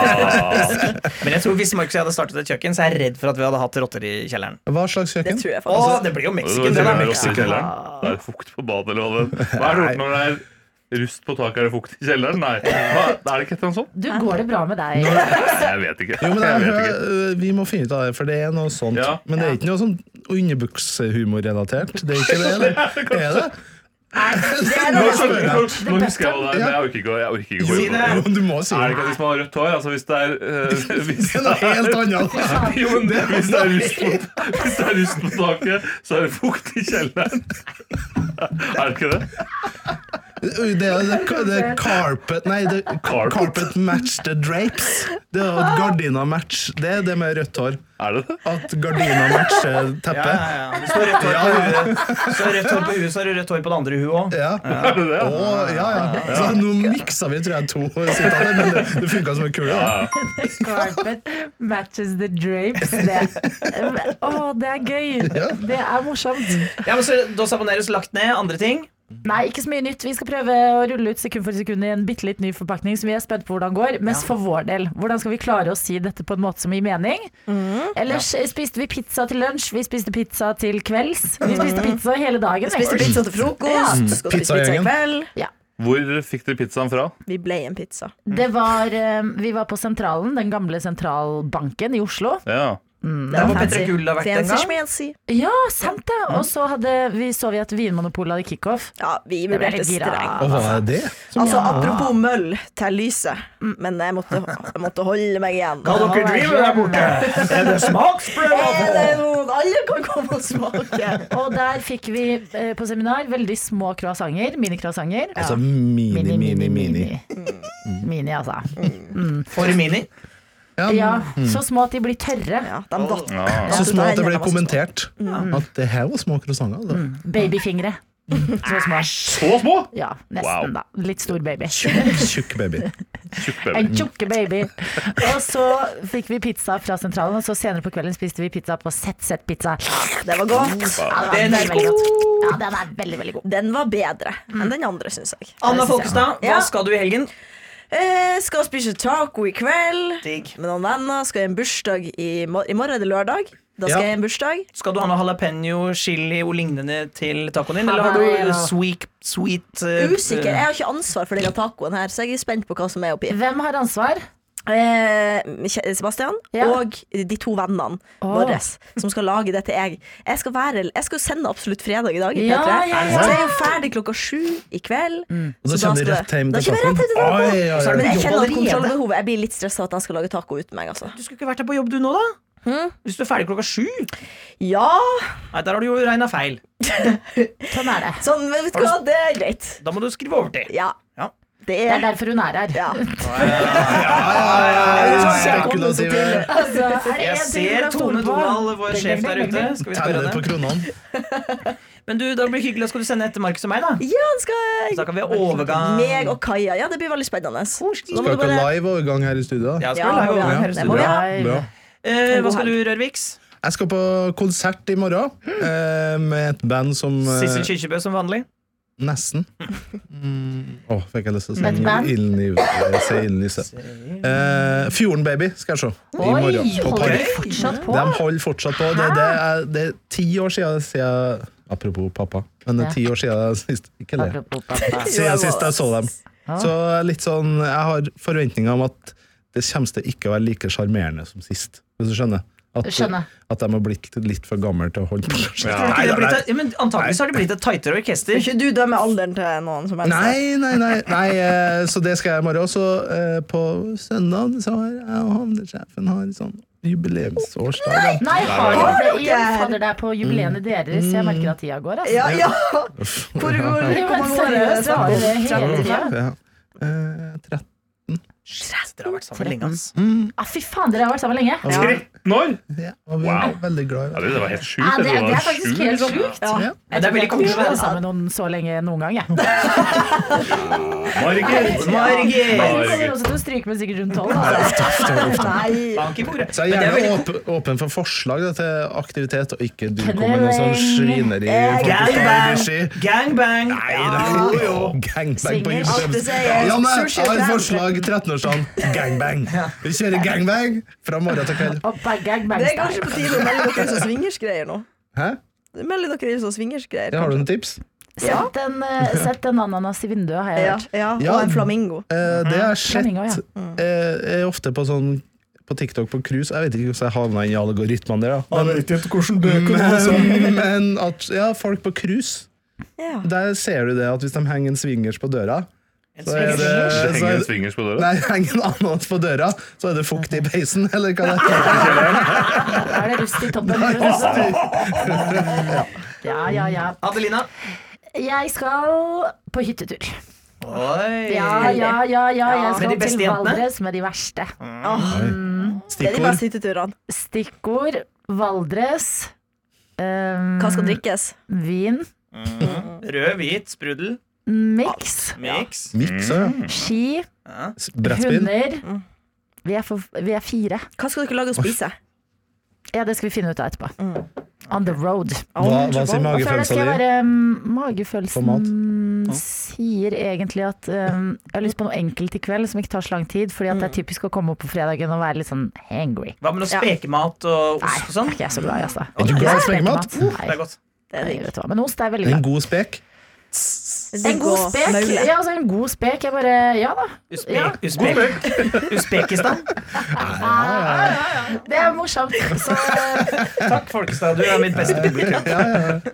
S2: Men jeg tror hvis Markus og jeg hadde startet et kjøkken, så er jeg redd for at vi hadde hatt rotter i kjelleren.
S5: Hva slags
S4: Det
S5: kjøkken?
S4: tror jeg
S2: Å,
S4: faktisk.
S2: det blir jo
S3: Det var
S2: Mexican,
S3: en
S2: det
S3: kjeller
S2: der.
S3: også i kjelleren. Det er fukt på badet, eller hva det Hva er det ordet når det er rust på taket? Er det fukt i kjelleren? Nei. Hva, er det ikke et eller annet sånt?
S6: Du, går det bra med deg?
S3: Jeg vet ikke.
S5: Jo, men
S3: Jeg
S5: jeg,
S3: vet
S5: hører-
S3: ikke.
S5: øh, vi må finne ut av det, for det er noe sånt.
S3: Ja.
S5: Men det er ikke noe sånn underbuksehumorrelatert. Det er ikke det, eller? Er det?
S3: Nå skjønner jeg- Nå husker jeg hva det er,
S5: Ja.
S3: men jeg orker ikke å- jeg orker ikke å gå
S2: Si
S3: inn på det.
S2: det.
S5: Jo, du må si
S3: Er det
S5: det.
S3: ikke at hvis man har rødt hår altså hvis det er, eh, hvis
S5: Det er noe helt annet.
S3: Jo, men hvis det er rust på, hvis det er rust på taket, så er det fukt i kjelleren. Er det ikke det?
S5: Oi, Det er det, det er carpet Nei, det er
S3: Carpet?
S5: carpet match the drapes. Det er at gardina match. Det er det med rødt hår.
S3: Er det det?
S5: At gardina matcher
S2: Ja, ja,
S5: teppet.
S2: ja. Du står rødt hår på huet, så rødt hår på huet, så har du rødt hår på det andre huet òg.
S5: Ja.
S3: Er det det?
S5: Å, ja, ja. Så nå miksa vi, tror jeg, to sitater, men det, det funka som en kule. da.
S6: Carpet matches the drapes. Det. Å, det er gøy! Det er morsomt.
S2: Ja, men så Dos Habaneros lagt ned. Andre ting?
S6: Nei, ikke så mye nytt. Vi skal prøve å rulle ut sekund for sekund i en bitte litt ny forpakning som vi er spent på hvordan går. Mest for vår del. Hvordan skal vi klare å si dette på en måte som gir mening? Ellers spiste vi pizza til lunsj, vi spiste pizza til kvelds. Vi Mm. spiste pizza hele dagen.
S4: Spiste
S6: egentlig.
S4: pizza til
S2: Mm.
S4: frokost, skal spise pizza i
S5: Pizzagjengen.
S4: kveld.
S3: Hvor fikk dere pizzaen fra?
S4: Vi ble en pizza.
S2: Mm.
S6: Det var, eh, vi var på sentralen, den gamle sentralbanken i Oslo.
S3: Ja.
S2: Der hvor Petter Gull har vært en
S4: Fancy
S2: gang.
S4: schmancy.
S6: Ja, sant det! Og så hadde, vi, så vi at Vinmonopolet hadde kickoff.
S4: Ja, vi
S6: Jeg ble
S4: vurderte
S6: litt
S4: streng.
S5: Og
S6: gira.
S5: hva er det?
S4: Altså, apropos møll til lyset, men jeg måtte, jeg måtte holde meg igjen.
S2: Hva dere driver med der borte? Er det
S4: Er det
S2: smaksprøver?
S4: noen alle kan komme og smake?
S6: Og der fikk vi eh, på seminar veldig små croissanter, minicroissanter.
S5: Altså mini, mini, mini.
S6: Mini, mini, altså.
S2: For mini.
S5: Mm.
S6: Ja, så små at de blir tørre.
S4: Ja, de datt.
S3: Ja.
S5: Så små at
S4: Hendene
S5: det ble
S4: var så små.
S5: kommentert at det her var små croissanter. da.
S6: Babyfingre. Så små.
S3: Så små!
S6: Ja,
S3: Wow.
S6: nesten, da. Litt stor baby.
S5: Tjukk, tjukk baby.
S3: Tjukk baby.
S6: En tjukke baby. Og så fikk vi pizza fra sentralen, og så senere på kvelden spiste vi pizza på ZZ Pizza.
S4: Det var
S2: Mm,
S4: godt.
S6: Ja, den
S2: Den
S6: er
S2: er
S6: veldig Mm. godt. Ja, den er veldig, veldig god.
S4: Den var bedre enn den andre, syns jeg.
S2: Anna Folkestad, hva
S4: Ja.
S2: skal du i helgen?
S4: Eh, skal spise taco i kveld
S2: Digg.
S4: med noen venner. Skal i en bursdag i, mor I morgen er det lørdag. Da skal jeg
S5: Ja.
S4: i en bursdag.
S2: Skal du ha noe jalapeño, chili og lignende til tacoen din, eller har
S6: Habanero.
S2: du sweet, sweet eh,
S4: Usikker. Jeg har ikke ansvar for denne tacoen her, så jeg er spent på hva som er oppi.
S6: Hvem har ansvar?
S4: Eh, Kje- Sebastian
S6: Ja.
S4: og de to vennene
S6: Åh.
S4: våre som skal lage dette jeg. Jeg skal, være, jeg skal sende Absolutt fredag i dag. i
S6: Ja,
S4: P3.
S6: ja, ja.
S4: Så jeg er jo ferdig klokka sju i kveld.
S5: Og
S4: Så
S5: da kommer de
S4: skal
S5: rett
S4: jeg-
S5: hjem
S4: Da kommer jeg
S5: til
S4: rett hjem til
S5: tacoen.
S4: tacoen.
S5: Oi, oi,
S2: Så
S5: oi.
S2: Mm. er det
S4: Men jeg
S2: jobb
S4: kjenner at
S2: allerede.
S4: kontrollbehovet Jeg blir litt stressa at han skal lage taco uten meg. Altså.
S2: Du skulle ikke vært her på jobb du nå, da?
S4: Hm?
S2: Hvis du er ferdig klokka sju? Nei,
S4: Ja,
S2: der har du jo regna feil.
S6: Sånn er det.
S4: sånn, men vet du hva, det er greit.
S2: Da må du skrive overtid.
S4: Ja.
S2: Ja.
S4: Det
S6: Det er
S4: er
S6: derfor hun er her.
S4: ja. sånn
S5: Spekulative.
S6: Altså, er det
S2: Jeg
S6: en ting hun
S2: ser
S6: har
S2: Tone
S6: stolt på?
S2: Donald, vår
S6: Ding,
S2: sjef
S6: ding,
S2: der
S6: ding,
S2: ute.
S6: ding.
S2: Skal vi spørre
S5: Teller på
S2: henne?
S5: kronene.
S2: Men du, da blir det hyggelig. Skal du sende etter Markus og meg, da?
S4: Ja, han skal
S2: Så da kan vi ha overgang.
S4: Meg og Kaja. Ja, det blir veldig spennende. Så da
S5: Skal
S4: må du
S5: dere
S4: bare
S5: ha live overgang her i studio? da?
S2: Ja, skal vi ha
S4: Ja,
S2: overgang
S4: ja,
S2: her i
S4: det
S2: studio?
S4: må vi ha.
S5: Bra.
S2: Eh, hva skal du, Rørviks?
S5: Jeg skal på konsert i morgen eh, med et band som eh,
S2: Sissel Kyrkjebø som vanlig?
S5: Nesten. Mm. Åh, fikk jeg lyst til å si
S6: Et band?
S5: Ilden i eh, si Ilden i sø. Eh, Fjorden Baby skal jeg se i
S6: Oi,
S5: morgen. På
S6: holder
S5: Park.
S6: de fortsatt på?
S5: De holder fortsatt på. Det, det, er, det er ti år siden, siden Apropos pappa, men det er ti år siden sist. Ikke det.
S6: Apropos pappa.
S5: Siden sist jeg så dem.
S6: Ja.
S5: Så litt sånn, jeg har forventninger om at det kommer til ikke å være like sjarmerende som sist, hvis du skjønner. At,
S6: Skjønner.
S5: at de har blitt litt for gamle til å holde på.
S2: Tror du ikke det
S5: Nei,
S2: har blitt
S5: nei,
S2: et- Ja, men Antakeligvis har det blitt et tightere orkester.
S4: Ikke du dømmer alderen til noen som helst.
S5: Nei, nei, nei, nei eh, Så det skal jeg i morgen også eh, På søndag så har jeg og havnesjefen Har sånn jubileumsårsdag da.
S6: Nei,
S4: Har
S6: har dere det
S4: dere?
S6: igjen? Fader, det er på jubileene deres. Jeg merker at tida går, altså.
S4: Ja, ja. Hvor går
S6: Jo,
S4: det?
S6: men seriøst, det har jo det hele tida.
S5: Ja. Eh, 13
S2: Shit, Dere har vært sammen lenge, ass.
S6: Ah, fy faen, dere har vært sammen lenge. Ja.
S3: 13 år!
S5: ja, og vi
S3: Wow.
S5: er veldig glad
S3: Ja,
S5: i
S3: det
S5: det
S3: det var helt sjukt.
S6: Ja, det,
S3: jeg tror var
S6: det er faktisk
S3: sjukt.
S6: helt sjukt.
S5: ja.
S2: Ja, det er veldig koselig.
S6: Jeg har vært sammen med noen så lenge noen gang, jeg.
S3: Margit!
S2: Margit!
S6: Hun kommer også til å stryke med sikkert rundt tolv. altså.
S4: Nei.
S2: Bank i bordet.
S5: Så jeg
S2: Men
S5: er
S2: det er
S5: gjerne
S2: veldig
S5: åp åpen for forslag da, til aktivitet Og ikke du kommer
S6: Knulling.
S5: noe sånn
S2: eh,
S5: svineri
S2: Gangbang!
S5: Nei,
S2: Gangbang!
S5: det er jo gangbang på
S6: Svinger.
S5: jubileums
S4: Alt det sier.
S5: Janne,
S4: Sushi og
S5: har
S4: krem.
S5: forslag 13-årsdagen Gangbang Vi kjører gangbang fra morgen til kveld
S6: Og bang, gang, bang,
S4: Det er
S6: style.
S4: kanskje på tide å melde dere inn som swingersgreier nå.
S5: Hæ?
S4: Melde dere inn som swingersgreier.
S5: Ja, Har du
S4: kanskje.
S5: noen tips?
S6: Sett en, eh, sett en ananas i vinduet, har jeg
S4: Ja,
S6: hørt.
S4: ja.
S5: Ja.
S4: Og en flamingo.
S5: Eh, det jeg har
S6: Flamingo, ja.
S5: sett eh, er ofte på sånn på TikTok på cruise. Jeg vet ikke hvordan jeg havna inn i algoritmene der. da. Men, men at ja, folk på cruise,
S4: Ja.
S5: der ser du det at hvis de henger en swingers på døra så er det,
S3: Det
S5: så
S3: henger
S5: er,
S3: en swingers på døra.
S5: nei, henger en annen på døra, så er det fukt i peisen, eller hva det er.
S6: Er det rust i toppen? for å si det sånn? Ja, ja, ja.
S2: Adelina.
S6: Jeg skal på hyttetur.
S2: Oi.
S6: Ja, ja, ja. ja.
S2: Med
S6: Jeg
S2: de
S6: skal
S2: beste
S6: til
S2: jentene?
S6: Valdres med de verste.
S2: Mm,
S4: Det er de
S5: Stikkord.
S4: beste hytteturene.
S6: Stikkord Valdres. Um,
S4: Hva skal drikkes?
S6: Vin.
S2: mm. Rød, hvit, sprudel,
S6: Miks.
S2: mix.
S3: Mm.
S5: Miks ja.
S6: Mm. Ski.
S5: S- Brettspill.
S6: Hunder. Vi er, for, vi er fire.
S4: Hva skal dere lage å spise?
S6: Ja, det skal vi finne ut av etterpå. On the road.
S5: Hva, hva sier
S6: Og før det skal
S5: magefølelsen
S6: jeg
S5: din?
S6: bare mm,
S5: På mat?
S6: Magefølelsen Mm. sier egentlig at um, jeg har lyst på noe enkelt i kveld som ikke tar så lang tid, fordi at det er typisk å komme opp på fredagen og være litt sånn hangry.
S2: Hva med noe spekemat og ost
S6: Nei,
S2: og
S6: det er
S2: sånn?
S6: ikke jeg så glad i, altså.
S5: Er du glad i spekemat?
S2: Det er
S6: Nei,
S2: godt.
S4: Det er
S6: nei,
S4: digg.
S6: vet du hva. Men ost er veldig
S5: Uh. En
S6: glad.
S5: god spek?
S6: En god spek?
S4: Maule.
S6: Ja, altså en god spek. Jeg bare Ja da.
S2: Usbe
S6: Ja.
S2: Usbek Usbekistan.
S6: Det er morsomt. Så eh,
S2: Takk, Folkestad. Du er mitt beste publikum.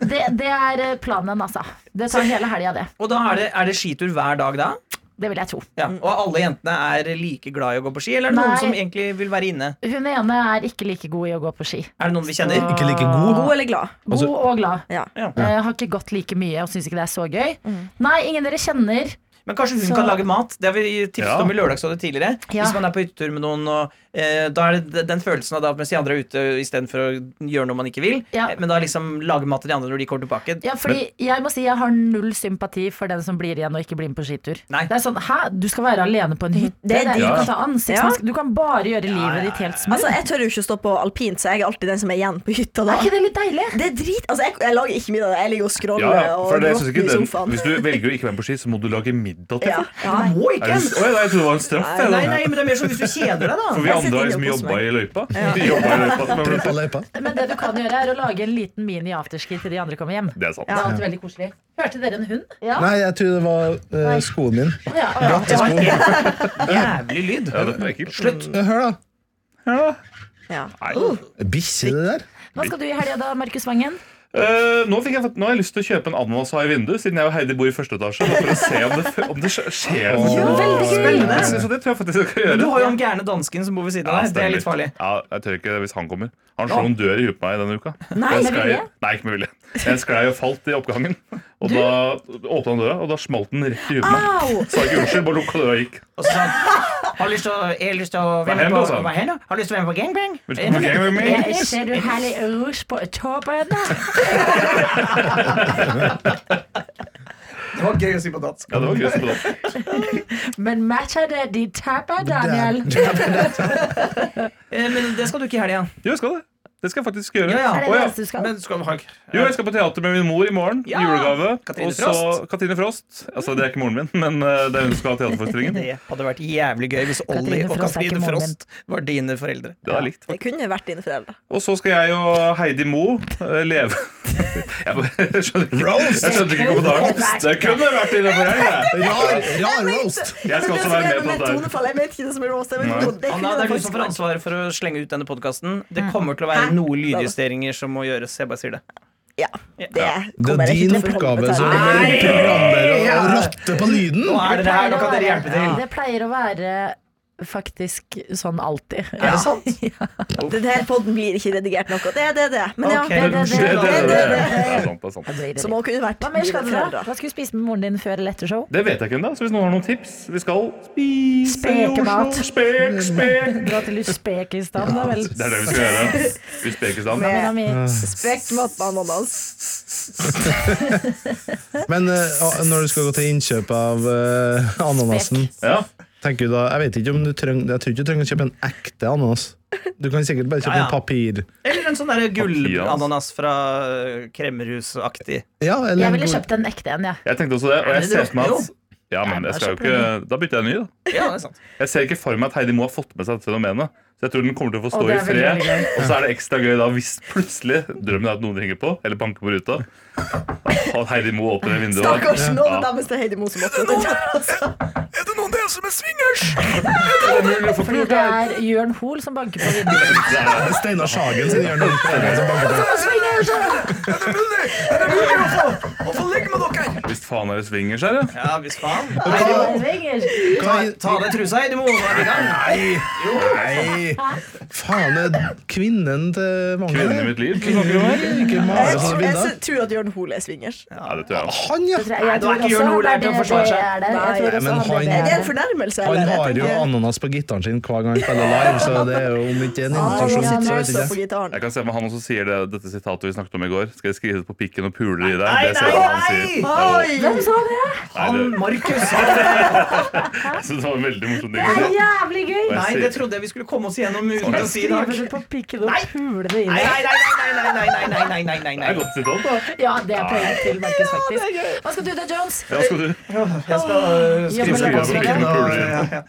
S6: det, det er planen, altså. Det tar hele helga, det.
S2: Og da er det, er det skitur hver dag da?
S6: Det vil jeg tro.
S2: Ja. Og alle jentene er like glad i å gå på ski, eller er det
S6: Mm. Nei.
S2: noen som egentlig vil være inne?
S6: Hun ene er ikke like god i å gå på ski.
S2: Er det noen vi kjenner?
S5: Ikke like god?
S4: God eller glad?
S6: God og glad.
S4: Ja.
S2: Altså-
S4: Mm.
S2: Ja.
S6: Eh, har ikke gått like mye og syns ikke det er så gøy. Nei, ingen dere kjenner.
S2: Men kanskje hun
S6: Så-
S2: kan lage mat. Det har vi tipset
S3: Ja.
S2: om i Lørdagsrådet tidligere.
S6: Ja.
S2: Hvis man er på hyttetur med noen, og eh, da er det den følelsen av da at mens de andre er ute istedenfor å gjøre noe man ikke vil,
S6: Ja.
S2: eh, men da liksom lage mat til de andre når de kommer tilbake.
S6: Ja, fordi jeg må si jeg har null sympati for den som blir igjen og ikke blir med på skitur.
S2: Nei.
S6: Det er sånn, hæ, Du skal være alene på en hytte?
S4: Mm. Det er
S6: du
S3: dyrt.
S6: kan ta ansiktsmaske, du kan bare gjøre
S2: ja,
S6: livet ditt helt smooth.
S4: Altså, Jeg tør jo ikke å stå på alpint, så jeg er alltid den som er igjen på hytta da.
S6: er ikke det litt deilig?
S4: Det er drit Altså, jeg, jeg lager ikke middag. Jeg ligger og scroller
S3: Ja, ja, for
S4: og
S3: det, jeg synes
S4: gråter
S3: ikke
S4: i
S3: den,
S4: sofaen.
S3: hvis du velger å ikke være med på ski, så må du lage middag til
S4: ja.
S3: folk.
S4: Ja.
S2: Du må
S3: Er
S2: ikke!
S3: det s- Å, ja, jeg trodde det var en straff. jeg, da.
S2: Nei, nei, men det er mer som hvis du kjeder deg,
S3: For
S2: da.
S3: vi
S4: Jeg
S3: andre
S4: sitter
S3: har
S4: inne
S3: liksom
S4: og koser
S3: jobba
S4: meg.
S3: i løypa. Ah. Vi jobba i løypa som
S5: På
S3: er
S5: løypa.
S6: Men det du kan gjøre, er å lage en liten mini-afterski til de andre kommer hjem.
S3: det er sant.
S6: Det er alltid veldig koselig. Hørte dere en hund? Ja.
S5: Nei, jeg tror det var eh, skoen min.
S6: ja.
S2: Det var helt jævlig lyd.
S3: Ja, dette er ekkelt.
S2: Slutt.
S5: Eh, Hør, da.
S4: Ja. Uh.
S3: Nei.
S5: Bikkje, det der.
S6: Hva skal du i helga da, Markus Vangen?
S3: Eh, nå, fikk jeg, fått- nå har jeg lyst til å kjøpe en ananashai i vinduet, siden jeg og Heidi bor i første etasje. bare For å se om det, f- om det skj- skjer noe.
S2: Spennende.
S3: Jeg synes at det tror jeg faktisk jeg skal gjøre.
S2: Du har jo han gærne dansken som bor ved siden av deg. Det er litt farlig.
S3: Ja, jeg tør ikke det hvis han kommer. Han slo en dør i huet på meg denne uka.
S6: Nei,
S3: Jeg
S6: med
S3: sklei-
S6: vilje?
S3: Nei, ikke med vilje. Jeg sklei og falt i oppgangen. Og da åpna han døra, og da smalt den rett i huet på
S2: Ah.
S3: meg. Sa ikke unnskyld, bare lukka døra og gikk.
S2: Og så sa han Har du lyst til å Jeg har lyst til å være
S3: Hva
S2: med
S3: hen
S2: på
S3: da, sa han?
S2: Hva hen da? Har du lyst til å være med på gangbang?
S3: Vil du komme og gange med meg?
S6: Ser du herlig rouge på toppen?
S2: Det var gøy å si på dansk.
S3: Ja, det var gøy som på dansk.
S6: Men matcher det de tapper, Daniel?
S2: Eh, Men det skal du ikke i helga.
S3: Jo, jeg skal det. Det skal jeg faktisk gjøre.
S2: Ja, ja.
S6: Er det
S3: Å,
S6: det
S3: ja.
S6: eneste du skal?
S2: Men skal vi ha
S3: Jo, jeg skal på teater med min mor i morgen.
S2: Ja!
S3: Julegave.
S2: Katrine
S3: og så
S2: Frost.
S3: Katrine Frost. Altså, det er ikke moren min, men eh, det er hun som skal ha teaterforestillingen.
S2: Det hadde vært jævlig gøy hvis Olli
S6: Katrine
S2: og
S6: Frost er ikke
S2: Katrine
S6: moren
S2: Frost var dine foreldre.
S3: Det er likt,
S4: Det
S3: faktisk.
S4: kunne vært dine foreldre.
S3: Og så skal jeg og Heidi Mo eh, leve Jeg bare- jeg skjønner ikke, jeg skjønner ikke kommentaren. Det kunne vært innenfor her. jeg.
S5: Rar, rar roast.
S3: Jeg skal
S4: Men det
S3: også
S4: som
S3: være
S4: er
S3: med på
S4: med
S3: dette. her.
S4: tonefall, Jeg vet ikke det som er roast. Jeg vet
S3: Nei.
S4: ikke,
S2: Anna,
S4: det kunne
S2: det er du
S4: faktisk
S2: som får
S4: vært.
S2: ansvaret for å slenge ut denne podkasten. Det kommer til å være
S4: Hæ?
S2: noe lydjusteringer som må gjøres. Jeg bare sier det.
S4: Ja, det
S5: Det
S4: kommer
S5: er
S4: jeg ikke
S5: din
S4: til å forholde
S5: oppgave
S4: meg til.
S5: som programleder å rotte på lyden.
S2: Nå er dere her, nå kan dere hjelpe til.
S6: Det pleier å være faktisk sånn alltid.
S2: Er det sant?
S4: Denne podden blir ikke redigert noe. Det er det, det. Men ja,
S2: Ok.
S4: det, er det,
S3: Det, det,
S4: det, er
S3: det,
S4: det,
S3: det.
S4: det, det.
S3: det er sant. Det er sant.
S4: Som også kunne vært
S6: Hva mer skal
S4: dine
S6: dere
S4: foreldre.
S6: Hva skal du spise med moren din før eller etter show?
S3: Det vet jeg ikke ennå, så hvis noen har noen tips Vi skal spise
S6: Spekemat.
S3: Oslo. Spek, spek.
S6: Dra til Usbekistan, da vel.
S3: Det er det vi skal gjøre. Usbekistan.
S6: Mamma mi.
S4: Spekt mat med ananas.
S5: Men eh, ah, når du skal gå til innkjøp av eh, ananasen
S3: Ja.
S5: tenker du da, Jeg vet ikke om du trenger Jeg tror ikke du trenger å kjøpe en ekte ananas. Du kan sikkert bare kjøpe
S2: Ja, ja.
S5: en papir.
S2: Eller en sånn der
S3: Papir, altså.
S2: gullananas fra eh, kremmerhusaktig.
S5: Ja, eller
S6: Jeg
S5: en
S6: ville
S5: god-
S6: kjøpt en ekte en, jeg.
S3: Jeg tenkte også det, og jeg
S2: det
S3: ser
S2: det?
S3: for meg
S2: Jo.
S3: at ja, men jeg skal jo ikke, Da bytter jeg ny, da.
S2: Ja, det er sant.
S3: Jeg ser ikke for meg at Heidi Moe har fått med seg dette fenomenet. Så jeg tror den kommer til å få stå
S6: Og det
S3: i
S6: er
S3: fred.
S6: veldig, veldig gøy.
S3: Og så er det ekstra gøy da hvis plutselig drømmen er at noen ringer på eller banker på ruta. At Heidi Moe åpner vinduet.
S4: Stakkars, nå er det
S3: Ja.
S4: deres det er Heidi Mo som måtte det.
S2: Er det noen dere som er swingers?
S6: Fordi det er Jørn Hoel som banker på vinduet.
S5: Steinar Sagen sin gjør noe.
S2: Er det mulig? Er det mulig å få, å få ligge med dere?
S3: Hvis faen er det swingers her, ja.
S2: Ja, hvis faen.
S6: Nei,
S5: Hva i-
S2: Ta av deg trusa, Heidi Mo. Nå er vi i gang.
S5: Nei! Faen, det er kvinnen til mange.
S3: Kvinnen i mitt liv. som snakker om det.
S5: Ikke
S4: Jeg
S5: male sånne
S4: tror-
S5: bilder.
S4: jeg tror at Jørn Hoel er swingers.
S3: Ja, det tror jeg.
S5: Han, ja!
S6: Jeg
S2: det var
S6: tror
S2: ikke
S6: også
S2: Jørn Hoel her
S6: han er
S2: til å
S6: det-
S2: forsvare seg.
S6: det er det. Jeg tror
S5: Nei,
S6: også
S5: men han-
S6: han
S4: Er det en
S6: er det.
S4: fornærmelse?
S5: Han
S4: eller? Jeg
S5: har jo
S4: tenker-
S5: ananas på gitaren sin hver gang han spiller live, så det er jo om ikke en
S4: Ah, han
S5: invitasjon, så
S4: har
S5: vet
S4: også på
S5: ikke jeg.
S4: gitaren.
S3: Jeg kan se meg han også sier det, dette sitatet vi snakket om i går. Skal jeg skrive det på pikken og pule i deg?
S2: Nei,
S3: Det ser jeg
S2: nei,
S3: han sier.
S4: Oi!
S6: Hvem sa det?
S3: Nei,
S2: Han
S3: det-
S2: Markus han-
S3: Jeg synes det var veldig morsomt.
S6: Det er
S3: egentlig.
S6: jævlig gøy!
S3: Og jeg
S2: Nei,
S3: sier-
S2: det trodde jeg vi skulle komme oss igjennom
S3: Sånn.
S2: uten å si i dag.
S6: Skrive det på pikken og pule det inn.
S2: Nei, nei, nei, nei, nei, nei, nei, nei, nei, nei, nei,
S3: Det er et
S2: nei.
S3: godt sitat, da.
S6: Ja, det er poenget til Markus, faktisk. Hva skal du da, Jones?
S2: Eh,
S3: Ja, skal du?
S2: Jeg skal øh, skrive
S6: Jobbe
S2: på
S6: med
S2: strikken.
S3: lappen.
S2: og- ja, ja.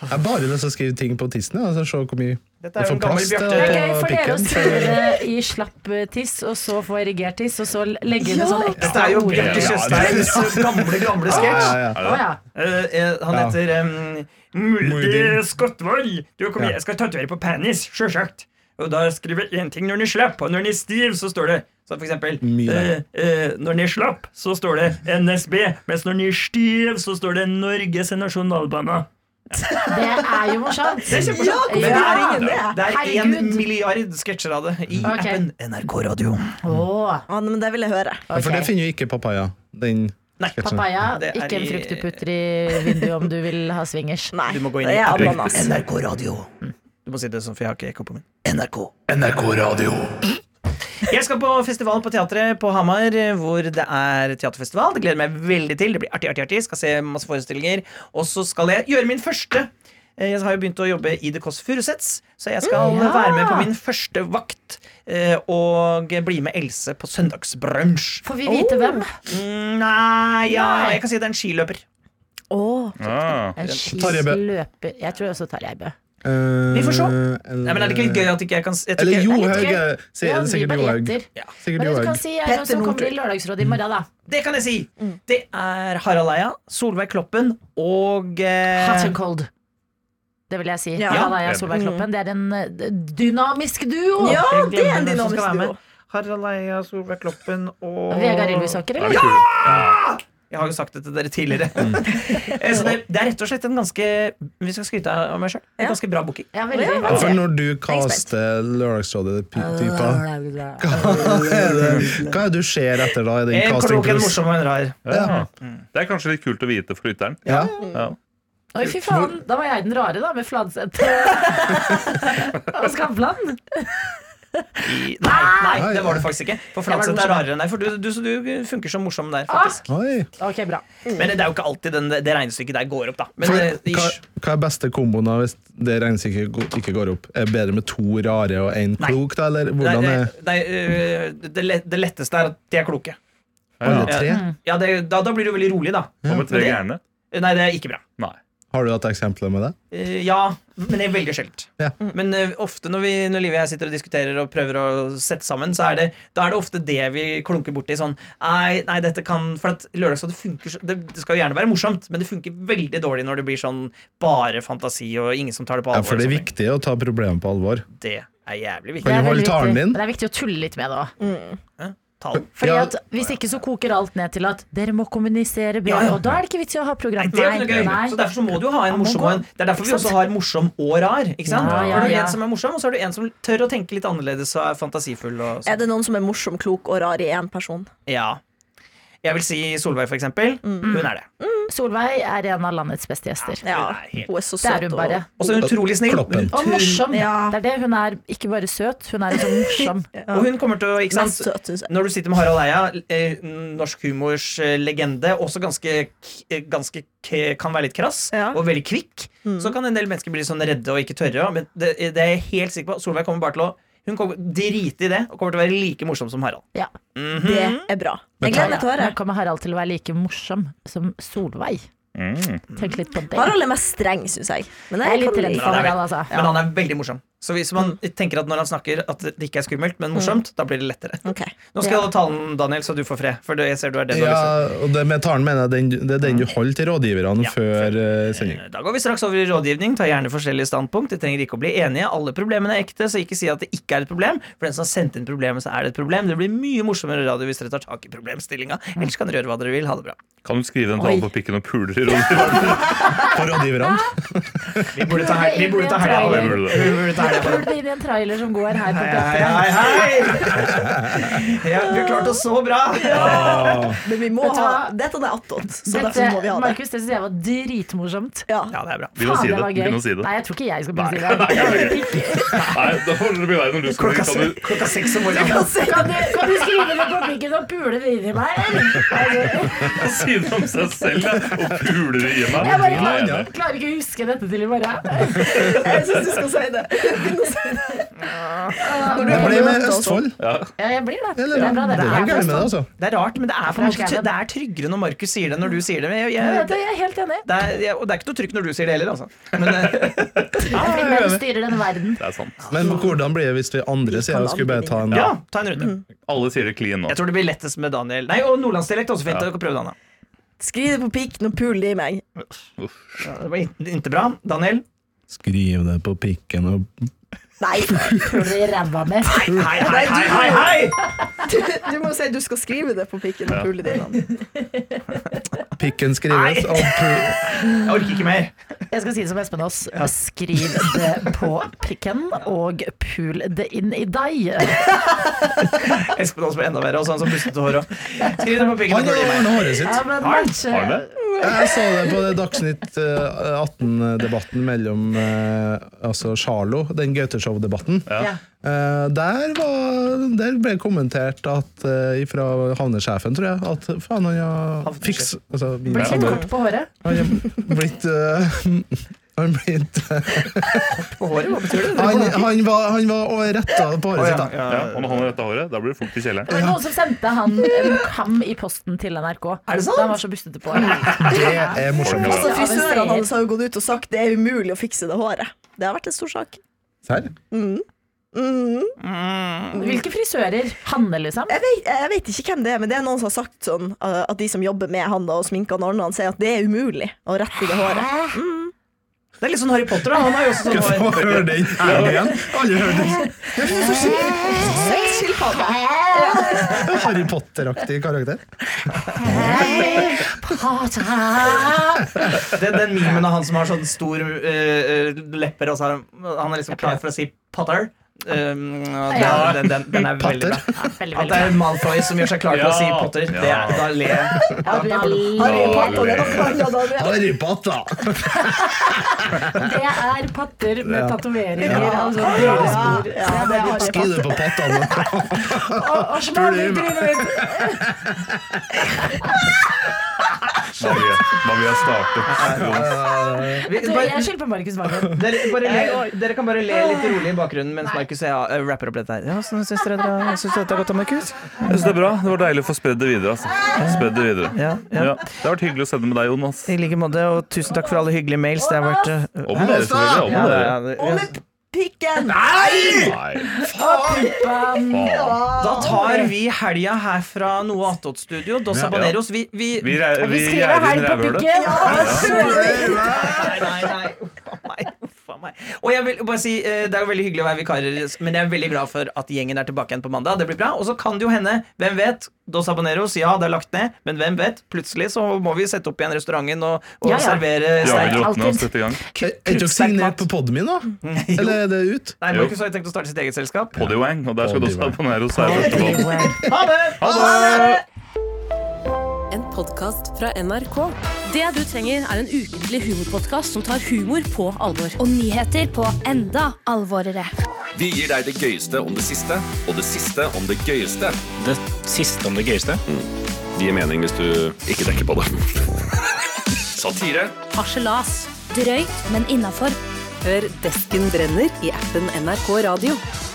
S5: Jeg har bare lyst til å skrive ting på tissen, ja, så se hvor mye
S2: Dette er
S5: jeg
S2: jo
S5: får
S2: en gammel
S5: plass til
S6: Det er
S2: Bjarte.
S6: gøy for dere å
S5: pikken.
S6: skrive det i slapp eh, tiss, og så få erigert tiss, og så legge inn en sånn
S2: Dette
S6: ekstra
S2: er jo
S6: ord.
S2: Bjarte
S3: Ja, ja.
S2: Tjøstheims gamle, gamle
S5: Ja,
S2: sketsj.
S5: Ah, ja, ja.
S6: Å, ja.
S2: Eh, eh, han
S5: Ja.
S2: heter um, Mulde
S5: Mulder.
S2: Skottvold. Du, kom
S5: Ja.
S2: igjen, jeg skal tatovere på penis, sjølsagt. Og da skriver jeg én ting når den er slapp, og når den er stiv, så står det så for eksempel
S5: Mye
S2: eh, eh, Når den er slapp, så står det NSB, mens når den er stiv, så står det Norges nasjonalbane.
S6: Det er jo morsomt.
S4: Ja, hvorfor
S6: Ja.
S4: gjør ingen det?
S2: Det er én
S6: Herregud.
S2: milliard sketsjer av det i
S6: Ok.
S2: appen NRK Radio.
S6: Å,
S4: Ja, men det vil jeg høre.
S5: Ja, For det finner jo ikke papaya. Den
S2: Nei.
S6: Papaya,
S2: Det er
S6: ikke en
S2: i-
S6: frukt du putter i vinduet om du vil ha swingers.
S4: Nei,
S2: Du må gå inn
S4: det
S2: i
S4: er ananas.
S2: NRK Radio. Du må si det sånn, for jeg har ikke ekko på min. NRK.
S1: NRK Radio.
S2: Jeg skal på festival på teatret på Hamar, hvor det er teaterfestival. Det gleder jeg meg veldig til. Det blir artig, artig, artig. Skal se masse forestillinger. Og så skal jeg gjøre min første. Eh, Jeg har jo begynt å jobbe i The Kåss Furuseths, så jeg skal
S6: Mm, ja.
S2: være med på min første vakt. eh, Og bli med Else på søndagsbrunsj.
S6: Får vi vite hvem?
S2: Mm, Nei, ja,
S6: Nei.
S2: jeg kan si det er en skiløper.
S4: Åh,
S3: Ah.
S6: En
S5: Tarjei Bø.
S6: skisløper. Jeg tror også Tarjei Bø.
S2: Vi får se.
S5: Eh, Eller,
S2: Nei, men Er det ikke gøy at ikke jeg kan s- jeg tror
S5: Eller
S2: ikke-
S5: Johaug.
S6: gøy.
S5: er- sier- det
S6: Ja,
S5: er
S6: vi
S5: Sikkert
S6: bare
S5: Johaug.
S6: gjetter.
S5: Sikkert
S6: Men vet du hva
S5: Johaug.
S6: jeg si, er noe som kommer i Lørdagsrådet i morgen, da.
S2: Det kan jeg si!
S4: Mm.
S2: Det er Harald Eia, Solveig Kloppen og eh,
S6: Hot and cold. Det vil jeg si.
S4: Ja.
S6: Ja, da er jeg Solveig Kloppen. Det er en eh, dynamisk duo.
S4: Ja,
S2: Jeg
S4: det er en
S2: glemmer hvem som skal
S4: dynamisk
S2: være med.
S4: duo.
S2: Harald Eia, Solveig Kloppen og
S6: Vegard Ylvisåker,
S3: Er
S6: eller?
S3: det kult?
S2: Jeg har jo sagt det til dere tidligere.
S5: Mm.
S2: Eh, Så det, det er rett og slett en ganske Vi skal skryte av meg sjøl. En
S4: Ja.
S2: ganske bra booking.
S6: Ja,
S4: Å, ja,
S6: veldig.
S4: hva-
S5: For når du
S4: spent.
S5: kaster Lørdagsrådet-typa, hva er det hva er det du ser etter da? i den
S2: En
S5: casting
S2: klok, en
S5: process?
S2: Eh, morsom og en rar.
S3: Ja. Det er kanskje litt kult å vite for lytteren.
S5: Ja.
S3: Ja.
S6: Oi, fy faen. Da var jeg den rare, da, med Fladseth. Og Skavlan.
S2: I, nei, nei,
S4: Ah!
S5: Nei.
S2: det var det faktisk ikke. For
S6: var det
S2: Fladseth er rarere enn deg. For du, du, så du funker som morsom der,
S4: Ah!
S2: faktisk.
S5: Oi.
S6: Ah! Ok, bra.
S2: Men det er jo ikke alltid den, det regnestykket der går opp, da. Men
S5: For,
S2: eh,
S5: hva,
S2: ish.
S5: hva er beste komboen da hvis det regnestykket go- ikke går opp? Er det bedre med to rare og én
S2: Nei.
S5: klok, da? Eller hvordan
S2: Nei,
S5: er
S2: nei, eh, det, le- det letteste er at de er kloke.
S5: alle tre?
S2: Ja, det, da, da blir du veldig rolig, da.
S3: Hva med tre
S2: Men det-
S3: gærne?
S2: Nei, det er ikke bra.
S3: Nei.
S5: Har du hatt eksempler med det?
S2: Eh, ja, men det er veldig sjeldent.
S5: Ja.
S2: Men eh, ofte når, vi, når Liv og jeg sitter og diskuterer og prøver å sette sammen, så er det, da er det ofte det vi klunker borti. Sånn Nei, nei dette kan For at Lørdagsrådet funker så- det, det skal jo gjerne være morsomt, men det funker veldig dårlig når det blir sånn bare fantasi og ingen som tar det på
S5: Ja,
S2: alvor.
S5: for det
S2: og
S5: er
S2: sånne ting.
S5: viktig å ta problemet på alvor.
S2: det er jævlig
S5: Kan
S2: viktig.
S5: du
S6: Det er
S5: holde
S6: veldig
S5: talen
S6: viktig.
S5: din?
S6: Men Det er viktig å tulle litt med det
S2: Mm.
S6: òg.
S2: Tall.
S6: Fordi
S5: Ja.
S6: at Hvis ikke så koker alt ned til at dere må kommunisere
S2: Ja,
S6: bedre,
S2: ja.
S6: og da er det ikke vits i å ha
S2: Nei,
S6: program.
S2: det er jo ikke noe
S6: Nei.
S2: gøy. Så derfor så må du jo ha en
S6: må
S2: morsom
S6: gå.
S2: og en Det er derfor vi
S6: Ikke
S2: også
S6: sant?
S2: har morsom og rar. Ikke sant?
S6: Ja, ja,
S2: Har du
S6: ja.
S2: en som er morsom, og så har du en som tør å tenke litt annerledes og er fantasifull. Og sånn.
S4: Er det noen som er morsom, klok og rar i én person?
S2: Ja. Jeg vil si Solveig, for eksempel.
S6: Mm.
S2: Hun er det.
S6: Solveig er en av landets beste gjester.
S4: Ja,
S2: Nei, helt-
S4: hun er så
S6: Det er
S4: søt.
S6: hun
S4: og-
S6: bare.
S2: Og så er hun utrolig snill.
S5: Kloppen.
S2: Utro-
S6: Og morsom.
S4: Ja.
S6: Det er det. Hun er ikke bare søt, hun er også morsom.
S2: Og hun kommer til å ikke
S4: Men
S2: sant?
S4: søt, synes jeg.
S2: Når du sitter med Harald Eia, eh, norsk humors eh, legende, også ganske, k- eh, ganske k kan være litt krass
S4: Ja.
S2: og veldig kvikk, så kan en del mennesker bli sånn redde og ikke tørre. Men det, det er jeg helt sikker på. Solveig kommer bare til å Hun kommer drite i det og kommer til å være like morsom som Harald.
S6: Ja.
S4: Mhm. Det er bra. Jeg gleder meg til å høre.
S6: Nå kommer Harald til å være like morsom som Solveig.
S3: Mm.
S6: Tenk litt på det.
S4: Harald er mest streng, syns jeg. Men
S6: Jeg er
S4: jeg
S6: litt
S4: kan
S6: redd
S4: like
S6: for
S2: Men han er
S6: Harald, altså.
S2: Men han er veldig morsom. Så hvis man tenker at når han snakker at det ikke er skummelt, men morsomt, da blir det lettere.
S4: Ok.
S2: Nå skal jeg holde talen, Daniel, så du får fred. For det- jeg ser du er det du har lyst til.
S5: Ja, og det med talen mener jeg den, det er den du holder til rådgiverne
S2: Ja.
S5: før eh, sending.
S2: Da går vi straks over i rådgivning. Ta gjerne forskjellige standpunkt. De trenger ikke å bli enige. Alle problemene er ekte, så ikke si at det ikke er et problem. For den som har sendt inn problemet, så er det et problem. Det blir mye morsommere radio hvis dere tar tak i problemstillinga. Ellers kan dere gjøre hva dere vil. Ha det bra.
S3: Kan du skrive den
S6: Oi.
S3: talen på pikken og puler i rommet?
S5: For rådgiverne.
S2: Vi burde ta hel- vi burde ta helga.
S3: Ja,
S6: Ja, det
S3: det burde du.
S2: Vi burde ta
S6: Jeg
S2: helga på
S6: tror
S2: det.
S6: det blir en trailer som går her på
S2: Hei,
S6: P3.
S2: hei, hei! Ja, vi har klart oss så bra!
S5: Ah.
S4: Men vi må
S6: Vet du
S4: ha
S6: hva?
S4: Dette er attåt, så
S6: Dette,
S4: derfor må vi ha det.
S6: Markus, det syns jeg var dritmorsomt.
S4: Ja.
S2: Ja, det er bra.
S3: Begynn å
S6: Faen,
S3: si det.
S6: var gøy.
S3: Begynn å si det.
S6: Nei, jeg tror ikke jeg skal begynne
S3: Nei,
S6: å si det.
S3: det Nei, da får det bli verre når du skal
S2: Klokka,
S3: dit. Kan
S2: se-
S3: du-
S2: klokka seks om morgenen.
S6: Kan du, kan du skrive det på bygget og pule det inn i meg? eller?
S3: Si det om seg selv ja, og puler det i meg.
S6: Jeg bare
S3: Nei,
S6: klarer,
S3: nei.
S6: klarer ikke å huske dette til i morgen.
S4: Jeg syns du skal si det. Begynn å si det.
S5: Det ble med Østfold.
S6: Ja, jeg blir det.
S5: Eller,
S6: Det er bra, det.
S5: det er
S6: Jeg
S5: noe gærent med
S6: er
S5: det,
S6: forresten-
S5: altså.
S2: Det er rart, men det er, på en måte,
S6: Kanskje jeg er det.
S2: det er tryggere når Markus sier det, enn når du sier det. Men jeg,
S6: Jeg vet
S2: jeg,
S6: det, jeg er helt enig.
S2: det er, jeg, og det er ikke noe trykk når du sier det heller, altså. Men, eh,
S6: Fordi hvem styrer denne verden?
S3: Det er sant.
S5: Men hvordan blir det hvis vi andre sier at skulle bare ta en
S2: ja, ta en runde.
S3: Alle sier det klin nå.
S2: Jeg tror det blir lettest med Daniel. Nei, og nordlandsdialekt er også fint. Dere kan prøve det, Anna.
S4: Skriv det på pikken og pul det i meg.
S2: Ja, det var in- inte bra. Daniel?
S5: Skriv det på pikken og
S4: Nei.
S6: Puler det i ræva mi.
S2: Hei, hei, hei, hei! hei.
S4: Du, du må si at du skal skrive det på pikken og pulene dine.
S5: Pikken skrives av pu-
S2: Jeg orker ikke mer.
S6: Jeg skal si det som Espen Aas. Skriv det på pikken, og pul det inn i deg.
S2: Espen Aas ble enda verre, også han som bustet hår og Skriv det på pikken.
S5: Han har ordna håret sitt.
S6: Ja, men kanskje
S3: Har han det?
S5: Jeg så det på det Dagsnytt eh, 18-debatten mellom eh, altså Charlo, den Gauteshow-debatten.
S6: Ja.
S5: Eh, der, var, der ble kommentert at, eh, fra havnesjefen, tror jeg, at faen, han har
S2: Havnesjef.
S5: fiks... Altså, min-
S6: Blitt litt kort på håret.
S5: han har blitt eh, han, blitt,
S2: På håret, hva betyr det?
S5: han, han var, han var og retta på håret sitt. da.
S2: ja.
S3: Ja, og når han har dette håret, da blir det fort i kjelleren.
S6: Det var noen som sendte han en kam i posten til NRK.
S2: Er det sant?
S6: Da han var så bustete på håret.
S5: Det er morsomt.
S4: Altså,
S6: Ja, men
S4: Frisørene
S6: serier.
S4: hans har jo gått ut og sagt det er umulig å fikse det håret. Det har vært en stor sak.
S5: Serr?
S6: Hvilke frisører? Hanne,
S2: Eh,
S6: liksom?
S4: Jeg vet, jeg vet ikke hvem det er, men det er noen som har sagt sånn uh, at de som jobber med han da, og sminker han og ordner han, sier at det er umulig å rette i det håret.
S2: Det er litt sånn Harry Potter, da. Han har jo også sånn hår.
S5: Hør den igjen. Alle hører den.
S4: Seks skilpadder.
S5: Harry Potter-aktig karakter.
S2: Den, den memen av han som har sånn stor eh, eh, lepper, og så har han, han er liksom klar for å si 'Potter'. Um,
S6: Ja.
S2: den, den, den, den er veldig
S5: Potter.
S2: bra.
S6: Ja, veldig,
S2: At det
S6: veldig
S2: er Malfoy som gjør seg klar til å si
S3: Ja.
S2: Potter.
S3: Ja.
S2: Det er, da ler jeg.
S6: bra. Ja, da-
S4: Harry Potter, det er noe annet, Daniel.
S5: Harry Potter!
S6: Det er patter med tatoveringer. Altså,
S4: Ja,
S6: røde spor.
S4: ja, det er Harry Potter.
S5: Skriv det på pattene.
S6: Og, og smaler i trynet mitt.
S3: Hva vi, hva vi har startet.
S2: Vi,
S6: Du,
S2: bare,
S6: Jeg skylder på Markus Wagen.
S2: dere, bare le, dere kan bare le litt rolig i bakgrunnen mens Markus og jeg eh, rapper opp dette her. Ja, så syns dere det er- syns dere dette er godt, da, Markus?
S3: Jeg synes det er bra. Det var deilig å få spredd det videre. Altså. Spredd det videre.
S2: Ja, ja.
S3: Ja, det har vært hyggelig å sende med deg, Jonas.
S2: I like måte, og tusen takk for alle hyggelige mails. Det har vært eh,
S3: Om dere, selvfølgelig. Om
S2: ja, det,
S3: dere.
S2: ja, det,
S4: Og
S2: ja.
S4: med pikken!
S3: Nei,
S6: Bam.
S3: faen.
S2: Da tar vi helga her fra noe attåt-studio. Dos
S5: Ja.
S2: Abaneros. Vi, vi
S3: Vi, re-
S6: Vi
S3: vi
S6: skriver
S3: gjerder
S6: her
S3: inn
S6: på
S3: rævhølet.
S6: pikken.
S2: Nei, nei, nei. Uff a meg. Uff a meg. Og jeg vil bare si, eh, Det er jo veldig hyggelig å være vikarer, men jeg er veldig glad for at gjengen er tilbake igjen på mandag. Det blir bra. Og så kan det jo hende, hvem vet, Dos Abaneros, ja, det er lagt ned, men hvem vet? Plutselig så må vi sette opp igjen restauranten og, og
S6: Ja, ja.
S2: servere
S3: Ja,
S2: sterk
S3: vi
S6: Alltid.
S3: råtner oss dette i gang.
S5: Er er ikke dere signert på poden min, da? Eller er det ut?
S2: Nei, Markus har jo tenkt å starte sitt eget selskap.
S3: Podywang, og der skal du også ha
S5: Podywang.
S3: Paneros her. første valg.
S2: Ha det!
S8: En podkast fra NRK. Det du trenger, er en ukentlig humorpodkast som tar humor på alvor.
S9: og nyheter på enda alvorere.
S1: Vi gir deg det gøyeste om det siste, og det siste om det gøyeste. Mm.
S10: det siste om det gøyeste.
S1: Det gir mening hvis du ikke tenker på det. Satire.
S8: Harselas.
S9: Drøyt, men innafor.
S8: Hør Desken brenner i appen NRK Radio.